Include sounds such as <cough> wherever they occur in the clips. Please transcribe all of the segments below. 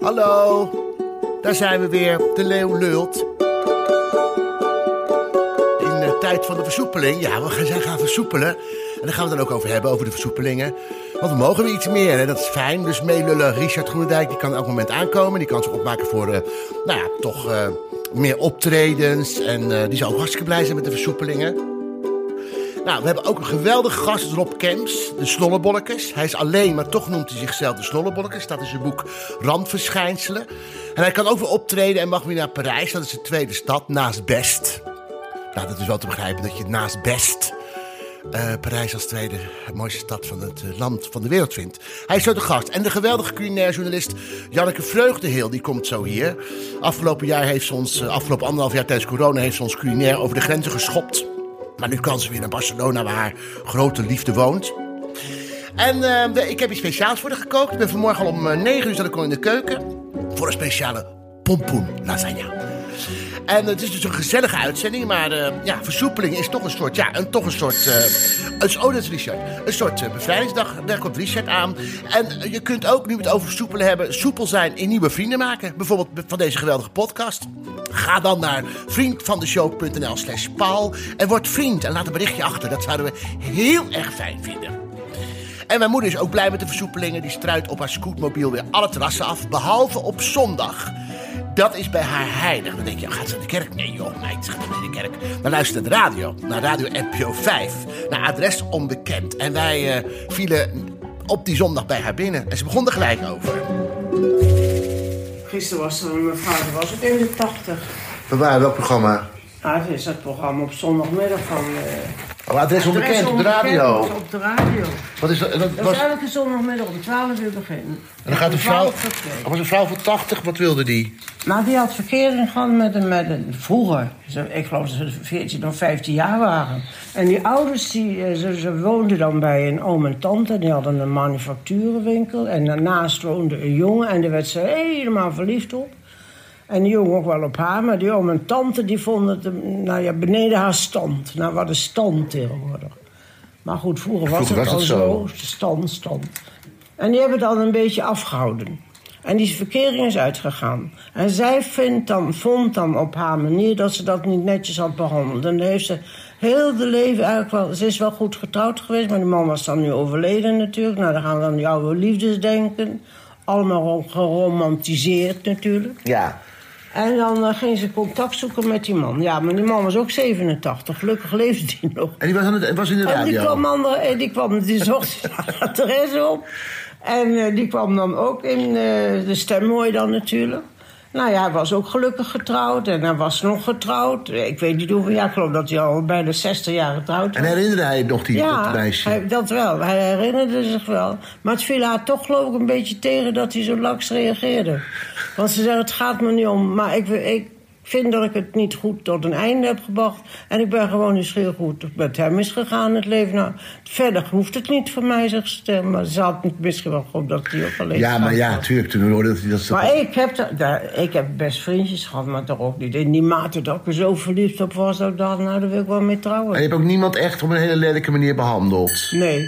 Hallo, daar zijn we weer. De leeuw lult. In de tijd van de versoepeling. Ja, we gaan, zij gaan versoepelen. En daar gaan we het dan ook over hebben, over de versoepelingen. Want we mogen weer iets meer, hè? dat is fijn. Dus meelullen Richard Groenendijk, die kan elk moment aankomen. Die kan zich opmaken voor, eh, nou ja, toch eh, meer optredens. En eh, die zou ook hartstikke blij zijn met de versoepelingen. Nou, we hebben ook een geweldige gast, Rob Kemps, de Snollebollekes. Hij is alleen, maar toch noemt hij zichzelf de Snollebollekes. Dat is zijn boek Randverschijnselen. En hij kan ook weer optreden en mag weer naar Parijs. Dat is de tweede stad, naast Best. Nou, dat is wel te begrijpen dat je naast Best... eh, Parijs als tweede mooiste stad van het eh, land van de wereld vindt. Hij is zo de gast. En de geweldige culinair journalist Janneke Vreugdeheel, die komt zo hier. Afgelopen jaar heeft ze ons, eh, afgelopen anderhalf jaar tijdens corona, heeft ze ons culinair over de grenzen geschopt. Maar nu kan ze weer naar Barcelona, waar haar grote liefde woont. En eh, de- ik heb iets speciaals voor haar gekookt. Ik ben vanmorgen al om eh, 9 uur zat ik al in de keuken. Voor een speciale pompoen lasagne. En het is dus een gezellige uitzending, maar eh, ja, versoepeling is toch een soort, ja, een, toch een soort, eh, het is- oh dat is Richard, een soort eh, bevrijdingsdag, daar komt Richard aan. En je kunt ook, nu we het over versoepelen hebben, soepel zijn in nieuwe vrienden maken. Bijvoorbeeld be- van deze geweldige podcast. Ga dan naar vriendvandeshow.nl slash paal en word vriend en laat een berichtje achter. Dat zouden we heel erg fijn vinden. En mijn moeder is ook blij met de versoepelingen. Die struit op haar scootmobiel weer alle terrassen af, behalve op zondag. Dat is bij haar heilig. Dan denk je, oh, gaat ze naar de kerk? Nee joh, meid, ze gaat niet naar de kerk. Dan luistert de radio, naar Radio NPO 5, naar adres onbekend. En wij eh, vielen op die zondag bij haar binnen. En ze begon er gelijk over. Gisteren was er een mevrouw, die was ook 81. We waren welk programma? Ah, het is dat programma op zondagmiddag van... eh, Oh, adres onbekend, op de Adres radio. Onbekend Op de radio. Wat is dat? dat Dat was, was elke zondagmiddag om 12 uur beginnen. en dan gaat een Om vrouw, 12 tot twee. er was een vrouw van 80, wat wilde die? Maar Nou, die had verkering gehad met een, met een vroeger. Ze- Ik geloof dat ze 14 of 15 jaar waren. En die ouders, die, eh, ze, ze woonden dan bij een oom en tante. Die hadden een manufacturenwinkel. En daarnaast woonde een jongen. En daar werd ze helemaal verliefd op. En die jongen ook wel op haar. Maar die oom en tante, die vonden het eh, nou ja, beneden haar stand. Nou, wat is stand tegenwoordig. Maar goed, vroeger was Vroeger het al was het zo. Stand, stand. En die hebben dan een beetje afgehouden. En die verkering is uitgegaan. En zij vindt dan, vond dan op haar manier dat ze dat niet netjes had behandeld. En dan heeft ze heel de leven eigenlijk wel... Ze is wel goed getrouwd geweest, maar die man was dan nu overleden natuurlijk. Nou, dan gaan we aan die oude liefdes denken. Allemaal ro- geromantiseerd natuurlijk. Ja. En dan eh, ging ze contact zoeken met die man. Ja, maar die man was ook 87. Gelukkig leefde hij nog. En die was, aan het, was in de En Oh, die radio. kwam, andere, en die, <laughs> kwam die zocht haar adres op. En eh, die kwam dan ook in eh, de stemmooi dan natuurlijk. Nou ja, hij was ook gelukkig getrouwd en hij was nog getrouwd. Ik weet niet hoeveel jaar, ik geloof dat hij al bijna 60 jaar getrouwd En was. herinnerde hij nog die dat meisje? hij- dat wel. Hij herinnerde zich wel. Maar het viel haar toch geloof ik een beetje tegen dat hij zo laks reageerde. Want ze zei, het gaat me niet om. Maar ik, ik vind dat ik het niet goed tot een einde heb gebracht. En ik ben gewoon nieuwsgierig hoe het met hem is gegaan, het leven. Nou, verder hoeft het niet voor mij, zegt ze. tegen me. Maar ze had het misschien wel gehoopt dat hij ook alleen Ja, maar was. ja, tuurlijk. Toen hoorde dat hij dat... Maar ik heb, da- daar, ik heb best vriendjes gehad, maar toch ook niet. In die mate dat ik er zo verliefd op was, dat ik dacht, nou, daar wil ik wel mee trouwen. En je hebt ook niemand echt op een hele lelijke manier behandeld. Nee.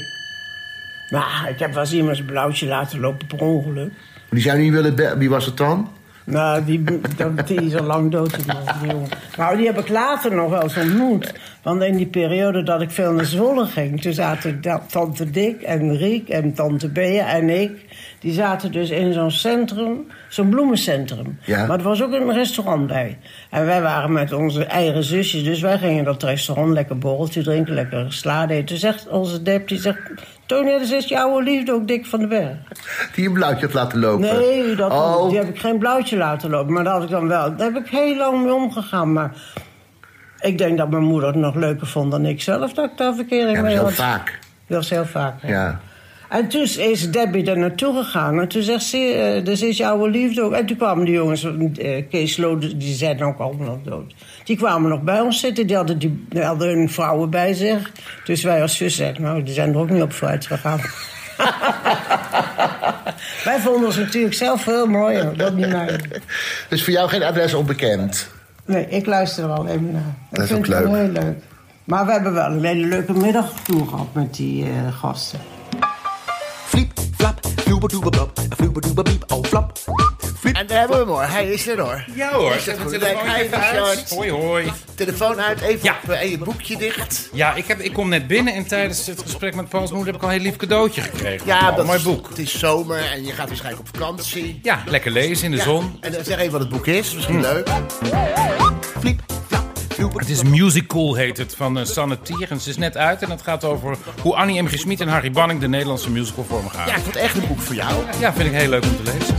Maar ik heb wel eens iemand zijn blauwtje laten lopen per ongeluk. Die zou niet willen be- Wie was het dan? Nou, die, dat- die is al lang dood. die man, die jongen. Nou, die heb ik later nog wel eens ontmoet. Want in die periode dat ik veel naar Zwolle ging... toen zaten da- tante Dick en Riek en tante Bea en ik... die zaten dus in zo'n centrum, zo'n bloemencentrum. Ja. Maar er was ook een restaurant bij. En wij waren met onze eigen zusjes, dus wij gingen dat restaurant... lekker borreltje drinken, lekker slaad eten. Toen zegt onze dep, die zegt... Tony, dat is je oude liefde ook, Dick van den Berg. Die een blauwtje had laten lopen. Nee, dat oh. die heb ik geen blauwtje laten lopen. Maar dat had ik dan wel. Daar heb ik heel lang mee omgegaan. Maar ik denk dat mijn moeder het nog leuker vond dan ik zelf dat ik daar verkering Ja, maar mee heel had. vaak. Dat is heel vaak. hè. Ja. En toen is Debbie er naartoe gegaan. En toen zegt ze, eh, daar zit je oude liefde ook. En toen kwamen die jongens, eh, Kees Lode, die zijn ook allemaal dood. Die kwamen nog bij ons zitten. Die hadden, die, die hadden hun vrouwen bij zich. Dus wij als zus zeiden, nou, die zijn er ook niet op vooruit gegaan. <laughs> wij vonden ons natuurlijk zelf heel mooi. hoor. Dat niet mij. Dus voor jou geen adres onbekend. Nee, ik luister er al even naar. Dat is ik ook vind het leuk. heel leuk. Maar we hebben wel een hele leuke middag toe gehad met die eh, gasten. Flip, flap, flubber, blop, flubber, beep, oh flap. Flip, En daar hebben we hem hoor. Hij is er hoor. Ja hoor, Is het zet mijn goed? telefoon Hij even is uit. uit. Hoi hoi. Telefoon uit, even Ja. op, eh, en je boekje dicht. Ja, ik, heb, ik kom net binnen en tijdens het gesprek met Pauls moeder heb ik al een heel lief cadeautje gekregen. Ja, Paul, mooi is- boek. Het is zomer en je gaat waarschijnlijk op vakantie. Ja, lekker lezen in de Ja, zon. En eh, zeg even wat het boek is, Hm. misschien leuk. Fliep, flap, floep. Het is Musical, heet het, van eh, Sanne Tier. En ze is net uit en het gaat over hoe Annie M. G. Schmid en Harry Banning de Nederlandse musical vormen gaan. Ja, ik vond echt een boek voor jou. Ja, vind ik heel leuk om te lezen.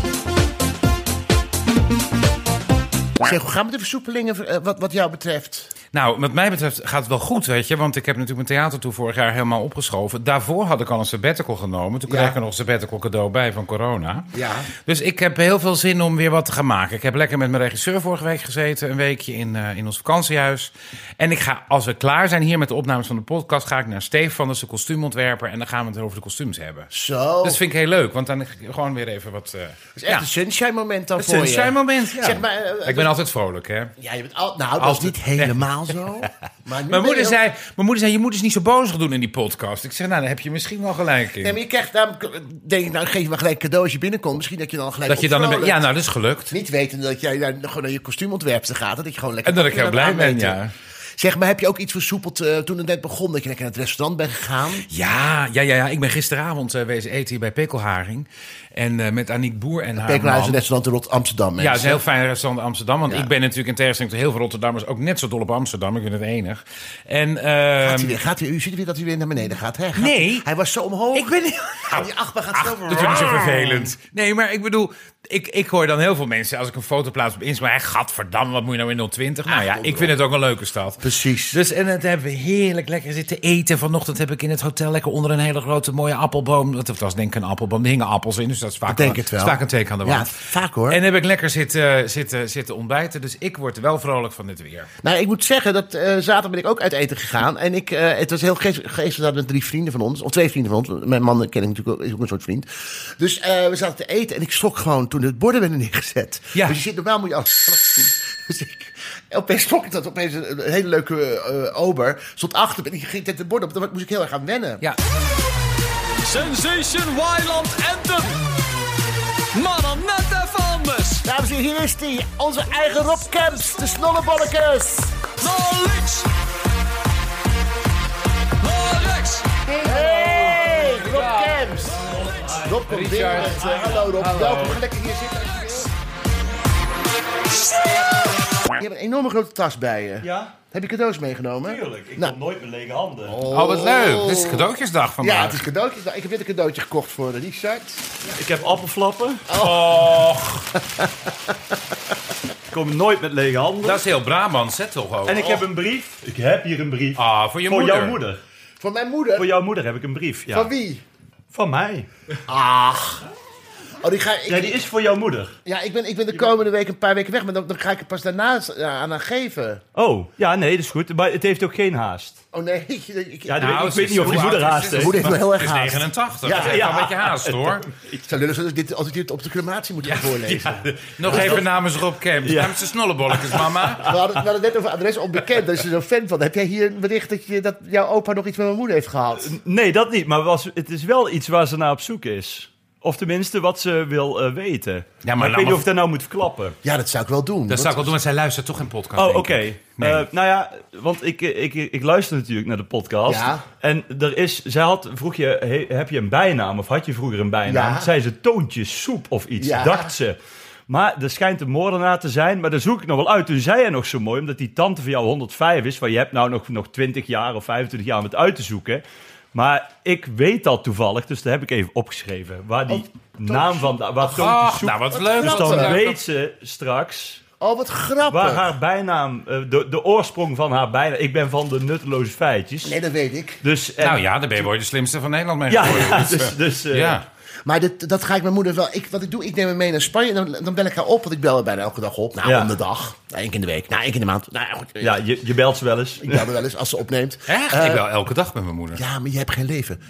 Zeg, hoe gaan we de versoepelingen eh, wat, wat jou betreft? Nou, wat mij betreft gaat het wel goed, weet je. Want ik heb natuurlijk mijn theatertour vorig jaar helemaal opgeschoven. Daarvoor had ik al een sabbatical genomen. Toen Ja. kreeg ik er nog een sabbatical cadeau bij van corona. Ja. Dus ik heb heel veel zin om weer wat te gaan maken. Ik heb lekker met mijn regisseur vorige week gezeten. Een weekje in, eh, in ons vakantiehuis. En ik ga, als we klaar zijn hier met de opnames van de podcast... ga ik naar Stefan, dat is de kostuumontwerper. En dan gaan we het over de kostuums hebben. Dus Zo. Dat vind ik heel leuk, want dan gewoon weer even wat... eh Het is echt een sunshine moment dan het voor je. sunshine moment, ja. Zeg maar, eh, ik ben altijd vrolijk, hè. Ja, je bent al, nou, dat is Altijd. niet helemaal <laughs> zo. Maar nu ben Mijn je moeder, ook- zei, mijn moeder zei, je moet eens niet zo boos doen in die podcast. Ik zeg, nou, daar heb je misschien wel gelijk in. Nee, maar je krijgt namelijk... Denk ik, nou, geef je maar gelijk cadeau als je binnenkomt. Misschien dat je dan gelijk dat je dan een be- opvrolijkt. Ja, nou, dat is gelukt. Niet weten dat jij daar gewoon naar je kostuumontwerpster gaat. Dat je gewoon lekker... En dat ik heel blij ben, aanmeten. ja. Zeg maar, heb je ook iets versoepeld eh, toen het net begon? Dat je lekker naar het restaurant bent gegaan? Ja, ja, ja, ja. Ik ben gisteravond eh, wezen eten hier bij Pekelharing. En eh, met Aniek Boer en haar Pekelhuis is een man. restaurant in Rot- Amsterdam, Ja, mensen. het is een heel fijn restaurant in Amsterdam. Want Ja. ik ben natuurlijk in tegenstelling tot heel veel Rotterdammers ook net zo dol op Amsterdam. Ik ben het enig. En ehm, Gaat hij weer, gaat hij, u ziet weer dat hij weer naar beneden gaat, hè? Gaat- Nee. Hij was zo omhoog. ik ben En die achtbaan gaat zo... Dat is natuurlijk niet zo vervelend. Nee, maar ik bedoel, ik, ik hoor dan heel veel mensen als ik een foto plaats op Instagram. Hey, gadverdamme, wat moet je nou in 020? Nou ja, ik vind het ook een leuke stad. Precies. Dus en het hebben we heerlijk lekker zitten eten. Vanochtend heb ik in het hotel lekker onder een hele grote mooie appelboom. Dat was denk ik een appelboom. Er hingen appels in, dus dat is vaak, Ik denk het dat is wel. vaak een teken aan de wand. Ja, vaak hoor. En heb ik lekker zitten, zitten, zitten ontbijten. Dus ik word wel vrolijk van dit weer. Nou, ik moet zeggen dat eh, zaterdag ben ik ook uit eten gegaan. En ik, eh, het was heel geest- geestig dat met drie vrienden van ons, of twee vrienden van ons. want Mijn man ken ik natuurlijk ook, is ook een soort vriend. Dus eh, we zaten te eten en ik schrok gewoon toen de borden werden neergezet. Ja. Dus je zit normaal moet je alles zelf doen. <laughs> Dus ik, opeens schrok ik dat opeens een, een hele leuke eh, ober stond achter me en die ging tegen de borden op. Daar moest ik heel erg aan wennen. Ja, Sensation Wyland Anthem. Maar dan net even anders. Dames en heren, hier is die, onze eigen Rob Camps, de snollebollekes. Naar links. Naar rechts. Hey, Rob Camps. Rob komt binnen. Richard. Eh, hallo Rob, welkom. Ga lekker hier zitten als je wil. Je hebt een enorme grote tas bij je. Ja, Heb je cadeaus meegenomen? tuurlijk. Ik Nou. kom nooit met lege handen. oh wat leuk. Dit is cadeautjesdag vandaag. Ja, het is cadeautjes. Nou, ik heb net een cadeautje gekocht voor de Richard. Ik heb appelflappen. Och, Ik kom nooit met lege handen. dat is heel Brabant, hè toch ook? En ik heb een brief. Ik heb hier een brief. Ah, voor je voor moeder. jouw moeder. Voor mijn moeder. Voor jouw moeder heb ik een brief. Oh, Ja. Van wie? Van mij. Ach. Oh, die ga ik. Ja, die is voor jouw moeder. Ja, ik ben, ik ben de komende week een paar weken weg, maar dan, dan ga ik er pas daarna eh, aan haar geven. Oh, ja, nee, dat is goed. Maar het heeft ook geen haast. Oh nee, <laughs> ik, Ja, Nou, ik ze weet is- niet of hoe die moeder oud is haast ze? heeft. Moeder heeft wel Het erg is haast. 89. Ja, Ja, ja. ja. een beetje <laughs> haast hoor. Ik zou lullen als ik dit, als ik dit op de crematie moet gaan voorlezen. Nog even namens Rob Kemp. Ja. Namens de snollebolletjes, <laughs> mama. We hadden, we hadden het net over adres onbekend, daar is er zo'n fan van. Heb jij hier een bericht dat, je, dat jouw opa nog iets met mijn moeder heeft gehad? Nee, dat niet. Maar was, het is wel iets waar ze naar op zoek is. Of tenminste, wat ze wil eh, weten. maar ik laat weet maar- niet of ik dat nou moet verklappen. Ja, dat zou ik wel doen. Dat zou ik wel want- doen, want zij luistert toch geen podcast. Oh, oké. denk ik. Nee. Eh, nou ja, want ik, ik, ik, ik luister natuurlijk naar de podcast. Ja. En er is, zij had, vroeg je, he- heb je een bijnaam of had je vroeger een bijnaam? Ja. Zei ze Toontje Soep of iets, Ja. dacht ze. Maar er schijnt een moordenaar te zijn, maar daar zoek ik nog wel uit. Toen zei hij nog zo mooi, omdat die tante van jou 105 is, waar je hebt nou nog, nog 20 jaar of 25 jaar om het uit te zoeken. Maar ik weet dat toevallig, dus daar heb ik even opgeschreven. Waar Oh, die naam van, waar Toontje Ach, Soep... nou wat leuk. dus dat ze dan daar- weet ze straks Oh, wat grappig. Waar haar bijnaam, eh, de, de oorsprong van haar bijnaam. Ik ben van de nutteloze feitjes. Nee, dat weet ik. Dus, en- Nou ja, daar ben je wel de slimste van Nederland mee <laughs> ja, geworden. ja, dus, dus eh, Ja. Maar dit, dat ga ik mijn moeder wel... Ik, wat ik doe, ik neem hem mee naar Spanje en dan, dan bel ik haar op. Want ik bel haar bijna elke dag op. Nou, Ja. om de dag. Nou, één keer in de week. Nou, één keer in de maand. Nou, ja, goed. ja je, je belt ze wel eens. Ik bel haar wel eens als ze opneemt. Echt? ik wel elke dag met mijn moeder. Ja, maar je hebt geen leven.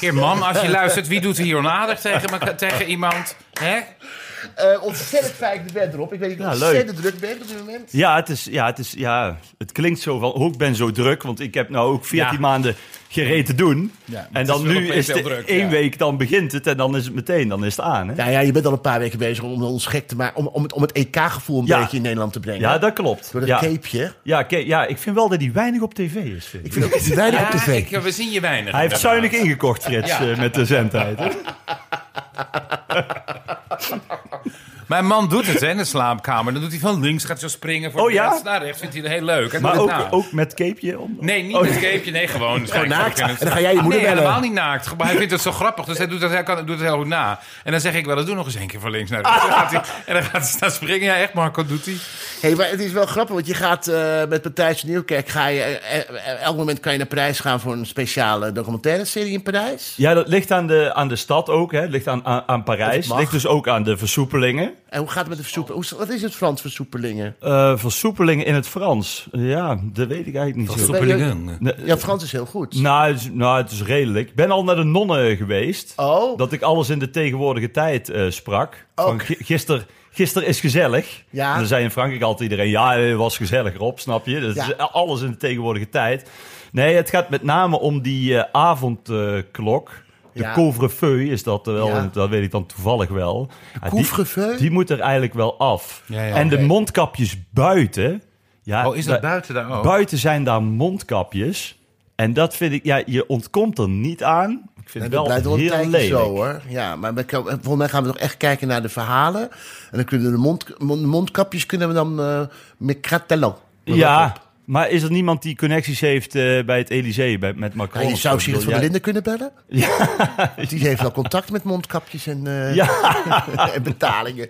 Heer, mam, als je luistert, wie doet hier onaardig tegen, me- tegen iemand? Hè? Eh, ontzettend fijn de band erop. Ik weet dat je Ja, leuk. ontzettend druk bent op dit moment. Ja, het is, ja, het is, ja, het klinkt zo van, oh, ik ben zo druk, want ik heb nou ook 14 Ja. maanden gereed te doen. Ja, maar en het dan is wel nu opeens is heel het druk, één ja. week, dan begint het en dan is het meteen, dan is het aan. Hè? Nou ja, je bent al een paar weken bezig om ons gek te maken. Om, om het, om het EK-gevoel een Ja. beetje in Nederland te brengen. Ja, dat klopt. Door dat ja. capeje. Ja, oké, ja, ik vind wel dat hij weinig op tv is. vind ik. Ik vind ook dat hij weinig op Ja, tv. ik- we zien je weinig. Hij heeft inderdaad. zuinig ingekocht, Frits, Ja. eh, met de zendtijd. hè? Mijn man doet het hè, in de slaapkamer. Dan doet hij van links, gaat zo springen voor Oh, ja? rechts naar rechts. Vindt hij het heel leuk. Hij Maar doet ook, het na. ook met capeje om. Nee, niet een capeje. Nee, gewoon. Gewoon naakt. En dan ga jij je moeder nee, bellen. helemaal niet naakt. Maar hij vindt het zo grappig. Dus hij doet het, hij kan, doet het heel goed na. En dan zeg ik wel, dat doe nog eens één keer van links naar rechts. Dan gaat hij, en dan gaat hij staan springen. Ja, echt Marco doet hij. Hey, maar het is wel grappig, want je gaat eh, met Matthijs van Nieuwkerk... Ga je, eh, eh, elk moment kan je naar Parijs gaan voor een speciale documentaire serie in Parijs. Ja, dat ligt aan de, aan de stad ook, hè. ligt aan, aan, aan Of Parijs. het mag. Ligt dus ook aan de versoepelingen. En hoe gaat het met de versoepelingen? Hoe- Wat is het Frans versoepelingen? Eh, versoepelingen in het Frans. Ja, dat weet ik eigenlijk niet zo. Versoepelingen. Nee, Ja, Frans is heel goed. Nou het, is, nou, het is redelijk. Ik ben al naar de nonnen geweest. oh, Dat ik alles in de tegenwoordige tijd eh, sprak. Van Ook. gi- gister, gister is gezellig. Ja. En dan zei in Frankrijk altijd iedereen... Ja, het was gezellig, Rob, snap je? Dat Ja. is alles in de tegenwoordige tijd. Nee, het gaat met name om die eh, avondklok... de Ja. couvre-feu is dat eh, wel, Ja. want dat weet ik dan toevallig wel. Ja, die- couvre-feu? Die moet er eigenlijk wel af. Ja, ja. en de Oké. mondkapjes buiten... Ja, Oh, is dat da- buiten daar ook? Buiten zijn daar mondkapjes. En dat vind ik, ja, je ontkomt er niet aan. Ik vind dat het blijft wel wel een heel tijdje lelijk. zo hoor. Ja, maar we, kan- volgens mij gaan we toch echt kijken naar de verhalen. En dan kunnen we de mond, mond- mondkapjes kunnen we dan eh met kratelon. Ja, maar is er niemand die connecties heeft eh, bij het Elysée bij, met Macron? Ja, je of zou zo? Sigrid van Ja, der Linden kunnen <laughs> bellen. Die heeft al contact met mondkapjes en, eh, <laughs> en betalingen.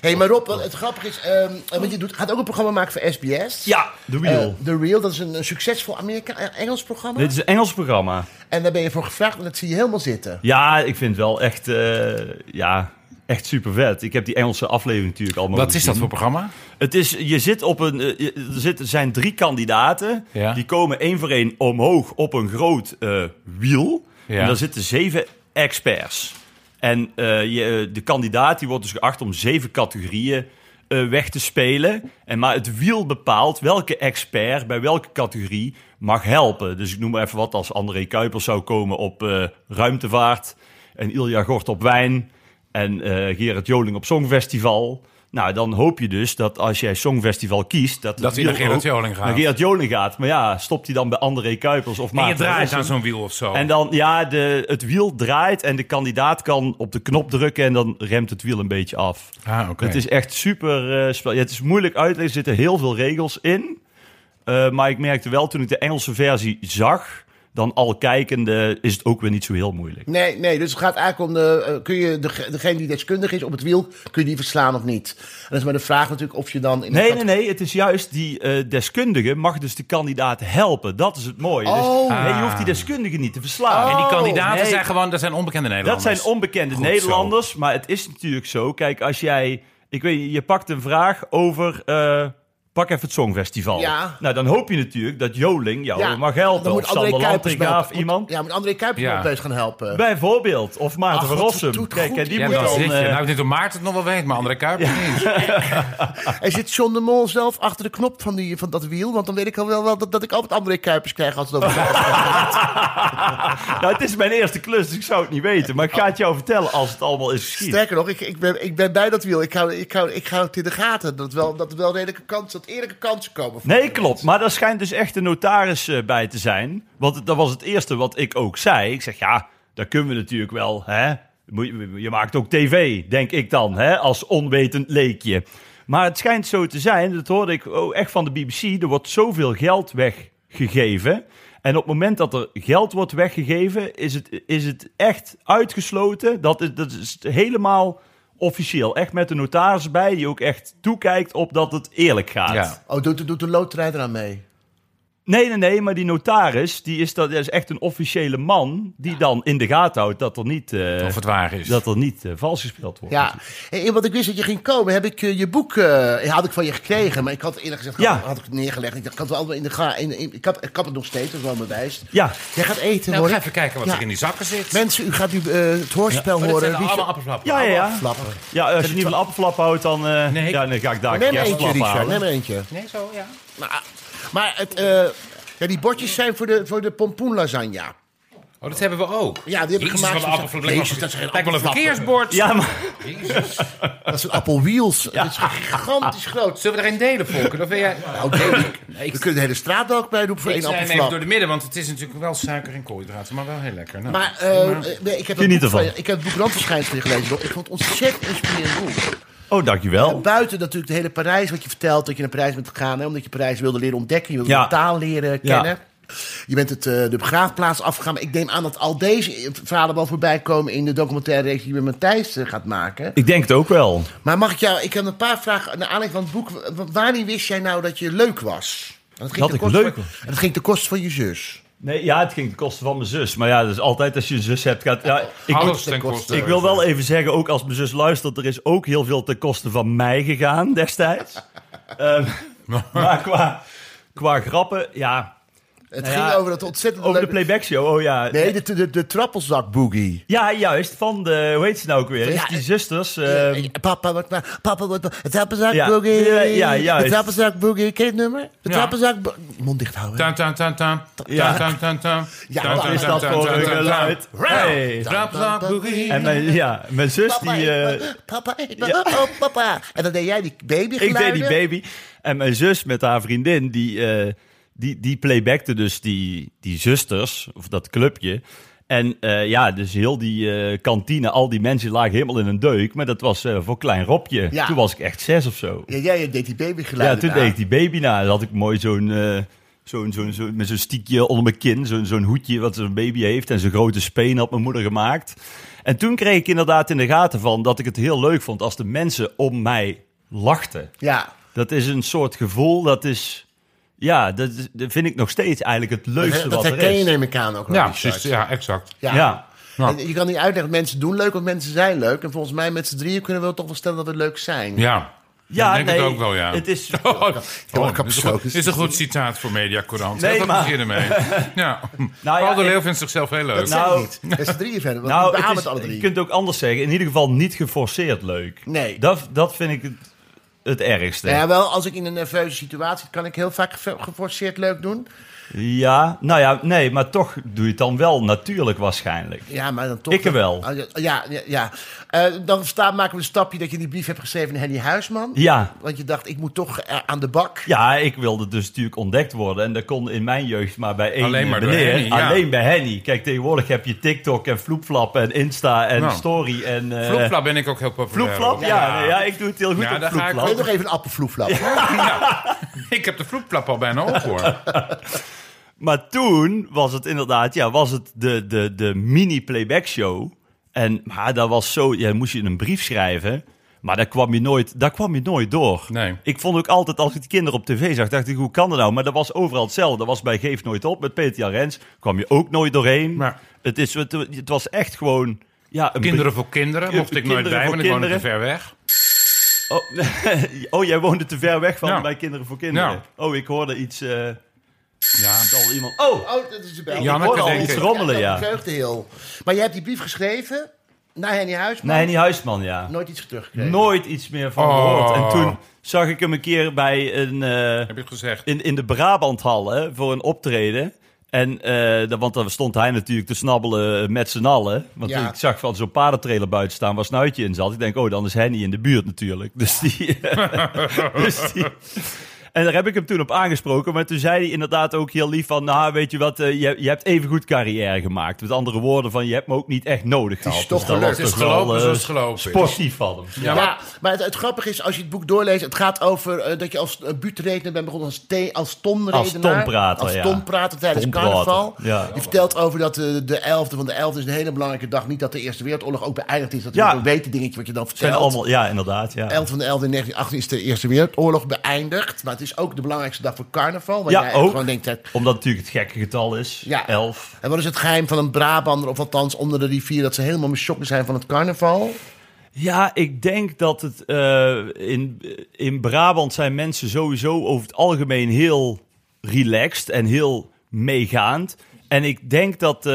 hey, maar Rob, wat het grappige is... ehm, want je doet, gaat ook een programma maken voor SBS. Ja, The Eh, Real. The Real, dat is een, een succesvol Amerika-Engels eh, programma. Dit is een Engels programma. En daar ben je voor gevraagd en dat zie je helemaal zitten. Ja, ik vind het wel echt, eh, ja, echt super vet. Ik heb die Engelse aflevering natuurlijk allemaal Wat is gezien. dat voor programma? Het is, je zit op een, eh, je- er zit- er zijn drie kandidaten. Ja. Die komen één voor één omhoog op een groot eh, wiel. Ja. En daar zitten zeven experts. En eh, je, de kandidaat die wordt dus geacht om zeven categorieën eh, weg te spelen. En, maar het wiel bepaalt welke expert bij welke categorie mag helpen. Dus ik noem maar even wat als André Kuipers zou komen op eh, ruimtevaart. En Ilja Gort op wijn. En eh, Gerard Joling op Songfestival. Nou, dan hoop je dus dat als jij Songfestival kiest... Dat, het Dat hij naar wiel Gerard ook Joling gaat. Naar Gerard Joling gaat. Maar ja, stopt hij dan bij André Kuipers of En Maarten je draait Wessel? aan zo'n wiel of zo. En dan, ja, de, het wiel draait en de kandidaat kan op de knop drukken en dan remt het wiel een beetje af. Ah, oké. Het is echt super eh, spel. Ja, het is moeilijk uit te leggen, er zitten heel veel regels in. Eh, maar ik merkte wel toen ik de Engelse versie zag, dan al kijkende, is het ook weer niet zo heel moeilijk. Nee, nee, dus het gaat eigenlijk om de, eh, kun je de, degene die deskundig is op het wiel, kun je die verslaan of niet? En dat is maar de vraag natuurlijk of je dan... In de Nee, kat- nee, nee. Het is juist die eh, deskundige mag dus de kandidaat helpen. Dat is het mooie. Oh. Dus, nee, je hoeft die Ah. deskundige niet te verslaan. En die kandidaten Oh, nee. zijn gewoon, dat zijn onbekende Dat Nederlanders. zijn onbekende Goed zo. Nederlanders, maar het is natuurlijk zo. Kijk, als jij, ik weet, je pakt een vraag over, eh, pak even het Songfestival. Ja. Nou, dan hoop je natuurlijk dat Joling jou Ja, Oh, mag helpen. dan of moet André Sander Kuipers Lantinga wel- of moet- iemand. Ja, moet André Kuipers Ja. wel opeens gaan helpen. Bijvoorbeeld, of Maarten Ach, van wat Rossum. doet Kijk, goed. en die Ja, moet dat dan... zit je. eh, Nou, ik denk dat Maarten het nog wel weet, maar André Kuipers niet. En zit John de Mol zelf achter de knop van, die, van dat wiel? Want dan weet ik al wel wel dat, dat ik altijd André Kuipers krijg als Oh, het over <laughs> nou, het is mijn eerste klus, dus ik zou het niet weten. Maar ik ga het jou vertellen als het allemaal is geschied. Sterker nog, ik, ik, ben, ik ben bij dat wiel. Ik hou, ik hou, ik hou het in de gaten. Dat, wel, dat er wel redelijke kansen, dat eerlijke kansen komen. voor Nee, de klopt. Maar daar schijnt dus echt een notaris eh, bij te zijn. Want het- dat was het eerste wat ik ook zei. Ik zeg, ja, dat kunnen we natuurlijk wel. Hè? Moet Je je maakt ook tv, denk ik dan, hè? als onwetend leekje. Maar het schijnt zo te zijn, dat hoorde ik oh, echt van de BBC... er wordt zoveel geld weggegeven... En op het moment dat er geld wordt weggegeven, is het, is het echt uitgesloten. Dat is, dat is helemaal officieel. Echt met de notaris bij, die ook echt toekijkt op dat het eerlijk gaat. Ja. mensen. Oh, doet, doet de loterij eraan mee? Nee, nee, nee, maar die notaris, die is, dat, dat is echt een officiële man die dan in de gaten houdt dat er niet, eh, Of het waar is. dat er niet eh, vals gespeeld wordt. Ja, en want ik wist dat je ging komen, heb ik eh, je boek eh, had ik van je gekregen, maar ik had eerlijk gezegd Ja. had ik het neergelegd. Ik dacht, ik had het wel in de ga, in, in- ik, had, ik had het nog steeds, dat is wel mijn wijs. Ja, Jij gaat eten Nou, we gaan hoor. even kijken wat Ja. er in die zakken zit. Mensen, u gaat nu eh, het hoorspel Maar dat horen. zijn Richard- allemaal appelflappen. ja, ja. ja. Flappen. Ja, als je niet van appelflap houdt, dan, eh, Nee, ik- ja, dan ga ik daar Neem een eentje, kerstflap Richard, halen. neem eentje. Nee, zo, ja. Maar, maar het, eh, ja, die bordjes zijn voor de, voor de pompoenlasagne. Oh, dat hebben we ook. Ja, die heb ik Jezus, gemaakt wat een van- appelflap. Jezus, Lijkt wel- dat zijn lijkt wel een appelflappen. verkeersbord. Ja, maar Jezus. Dat zijn Apple Wheels. Dat is gigantisch groot. Zullen we er een delen, Volker? Of wil jij... Nou, nee, ik- Nee, ik- we kunnen de hele straat ook bij doen voor Ik één zei hem even door appelflap. de midden, want het is natuurlijk wel suiker en koolhydraten, maar wel heel lekker. Nou, Maar eh, eh, nee, ik heb het Geniet boek van ervan. je- ik heb het boek Randverschijnselen gelezen. Rob. Ik vond het ontzettend inspirerend boek. Oh, dankjewel. Buiten natuurlijk de hele Parijs, wat je vertelt, dat je naar Parijs bent gegaan. Hè, omdat je Parijs wilde leren ontdekken, je wilde Ja. de taal leren Ja. kennen. Je bent het, eh, de begraafplaats afgegaan. Maar ik neem aan dat al deze verhalen wel voorbij komen in de documentaire reeks die je met Matthijs eh, gaat maken. Ik denk het ook wel. Maar mag ik jou, ik heb een paar vragen naar aanleiding van het boek. W- Wanneer wist jij nou dat je leuk was? En Dat ten ik koste leuk van- was? en Dat ging ten koste van je zus. Nee, ja, het ging ten koste van mijn zus. Maar ja, dus altijd als je een zus hebt, gaat... Ja, ik, alles ten koste. ik wil wel even zeggen, ook als mijn zus luistert... er is ook heel veel ten koste van mij gegaan destijds. <laughs> Ehm, maar qua, qua grappen, ja... Het Nou ging ja, over dat ontzettend Over de leuke- playback show, oh ja. Nee, de, de, de trappelzak boogie. Ja, juist, van de... Hoe heet ze nou ook weer? Ja, Is die zusters... Eh, ehm, papa wordt maar, papa wordt maar, het trappelzak Ja. boogie. Ja, ja, het juist. trappelzak boogie, ken je het nummer? De Ja. trappelzak bo- Mond dicht houden. Tam, tam, tam, tam. Ja. Tam, tam, tam. Ja, Tam, wat tam, is tam, dat tam, voor tam, een tam, tam. geluid? Hey. Trapzak, boogie. En eh, mijn, ja, mijn zus die... Papa, <laughs> ik eh, ben- papa, ik ben- ja. oh papa. En dan deed jij die baby ik deed die baby. En mijn zus met haar vriendin, die, eh, die, die playbackte dus die, die zusters, of dat clubje. En eh, ja, dus heel die eh, kantine, al die mensen lagen helemaal in een deuk. Maar dat was eh, voor klein Robje. Ja. Toen was ik echt zes of zo. Ja, jij deed die baby Ja, geluiden toen na. deed ik die baby na. Dan had ik mooi zo'n... eh, Zo'n, zo'n, zo'n- met zo'n stiekje onder mijn kin, zo'n, zo'n hoedje wat zo'n baby heeft. En zo'n grote speen had mijn moeder gemaakt. En toen kreeg ik inderdaad in de gaten van dat ik het heel leuk vond als de mensen om mij lachten. Ja. Dat is een soort gevoel, dat is... Ja, dat, is- dat vind ik nog steeds eigenlijk het leukste Dat, wat er herken is. je neem ik aan ook. Ja, Richard. precies. Ja, exact. Ja. Ja. Nou. En Je kan niet uitleggen, mensen doen leuk, want mensen zijn leuk. En volgens mij met z'n drieën kunnen we toch wel stellen dat we leuk zijn. Ja. Ja, ik denk het ook wel, ja. Het <laughs> is, Oh, wel dit is, een goed- kapsloten. dit is een goed citaat voor Mediacorant. Nee, Nee, dat maar- beginnen <laughs> mee. Ja. nou ja, Paul de ik- Leeuw vindt zichzelf heel leuk. Dat zijn Nou, niet. Met z'n drieën verder. Want <laughs> nou, we het beamen is, het alle je drie. kunt het ook anders zeggen. In ieder geval niet geforceerd leuk. Nee. Dat, dat vind ik het, het ergste. Nou Ja, wel, als ik in een nerveuze situatie kan ik heel vaak ge- geforceerd leuk doen. Ja, nou ja, nee, maar toch doe je het dan wel natuurlijk waarschijnlijk. Ja, maar dan toch. Ik er wel. Oh, ja, ja, ja, ja. Eh, dan staat, maken we een stapje dat je die brief hebt geschreven aan Henny Huisman. Ja, Want je dacht, ik moet toch eh, aan de bak. ja, ik wilde dus natuurlijk ontdekt worden. En dat kon in mijn jeugd maar bij één Alleen maar door meneer. Henny, ja. Alleen bij Henny. Kijk, tegenwoordig heb je TikTok en Floepflap en Insta en Nou. Story en... eh, Vloepflap ben ik ook heel populair. Vloepflap? op. Ja, nee, ja, ik doe het heel goed Ja, op daar ga ik Vloepflap. Neem nog even een appelvloeflap. <laughs> Ik heb de vloepflap al bijna op, hoor. <laughs> Maar toen was het inderdaad, ja, was het de, de, de mini-playback show. En maar dat was zo, ja, dan moest je een brief schrijven. Maar daar kwam je nooit, daar kwam je nooit door. Nee. Ik vond ook altijd, als ik die kinderen op tv zag, dacht ik, hoe kan dat nou? Maar dat was overal hetzelfde. Dat was bij Geef Nooit Op met Peter Jan Rens. Kwam je ook nooit doorheen. Maar- Het, is, het, het was echt gewoon... Ja, een Kinderen voor kinderen. Mocht ik nooit Kinderen bij, voor want ik woon te kinderen. ver weg. brie- Oh, <laughs> oh, jij woonde te ver weg van Ja. bij Kinderen voor Kinderen. Ja. Oh, ik hoorde iets... eh Ja. al iemand... Oh, Oh, dat is de bel. Janneke, ik hoorde al denk iets ik. rommelen, ja. dat verheugt heel. Maar jij hebt die brief geschreven naar Henny Huisman. Nee, Henny Huisman, ja. Nooit iets teruggekregen. nooit iets meer van Oh. gehoord. En toen zag ik hem een keer bij een, eh, Heb ik gezegd. in, in de Brabanthal hè, voor een optreden. En, eh, da- want daar stond hij natuurlijk te snabbelen eh, met z'n allen. Want Ja. toen ik zag van zo'n paardentrailer buiten staan waar Snuitje in zat. Ik denk, oh, dan is Henny in de buurt natuurlijk. Dus die... <laughs> dus die en daar heb ik hem toen op aangesproken. Maar toen zei hij inderdaad ook heel lief van... Nou, weet je wat, eh, je, je hebt even goed carrière gemaakt. Met andere woorden van, je hebt me ook niet echt nodig gehad. toch dat gelukt. was Het is toch wel, gelopen eh, zoals het gelopen is. Sportief van hem. Ja, Ja, maar, maar- het, het grappige is, als je het boek doorleest, het gaat over eh, dat je als uh, buurtredenaar bent begonnen, als, thee- als tonredenaar. Als tonprater, Als ja. tonprater tijdens Tonprater, carnaval. ja. Je vertelt over dat eh, de 11e van de 11e is een hele belangrijke dag. Niet dat de Eerste Wereldoorlog ook beëindigd is. Dat is Ja. een weten dingetje wat je dan Het zijn vertelt. allemaal, ja, inderdaad. Ja. 11 van de 11 in 1918 is de Eerste Wereldoorlog beëindigd. Maar het is ook de belangrijkste dag voor carnaval. Waar Ja, jij ook. gewoon denkt, hè, Omdat het natuurlijk het gekke getal is. Ja. 11. en wat is het geheim van een Brabander, of althans onder de rivier, dat ze helemaal mischokken zijn van het carnaval? Ja, ik denk dat het eh, in, in Brabant zijn mensen sowieso over het algemeen heel relaxed en heel meegaand. En ik denk dat eh,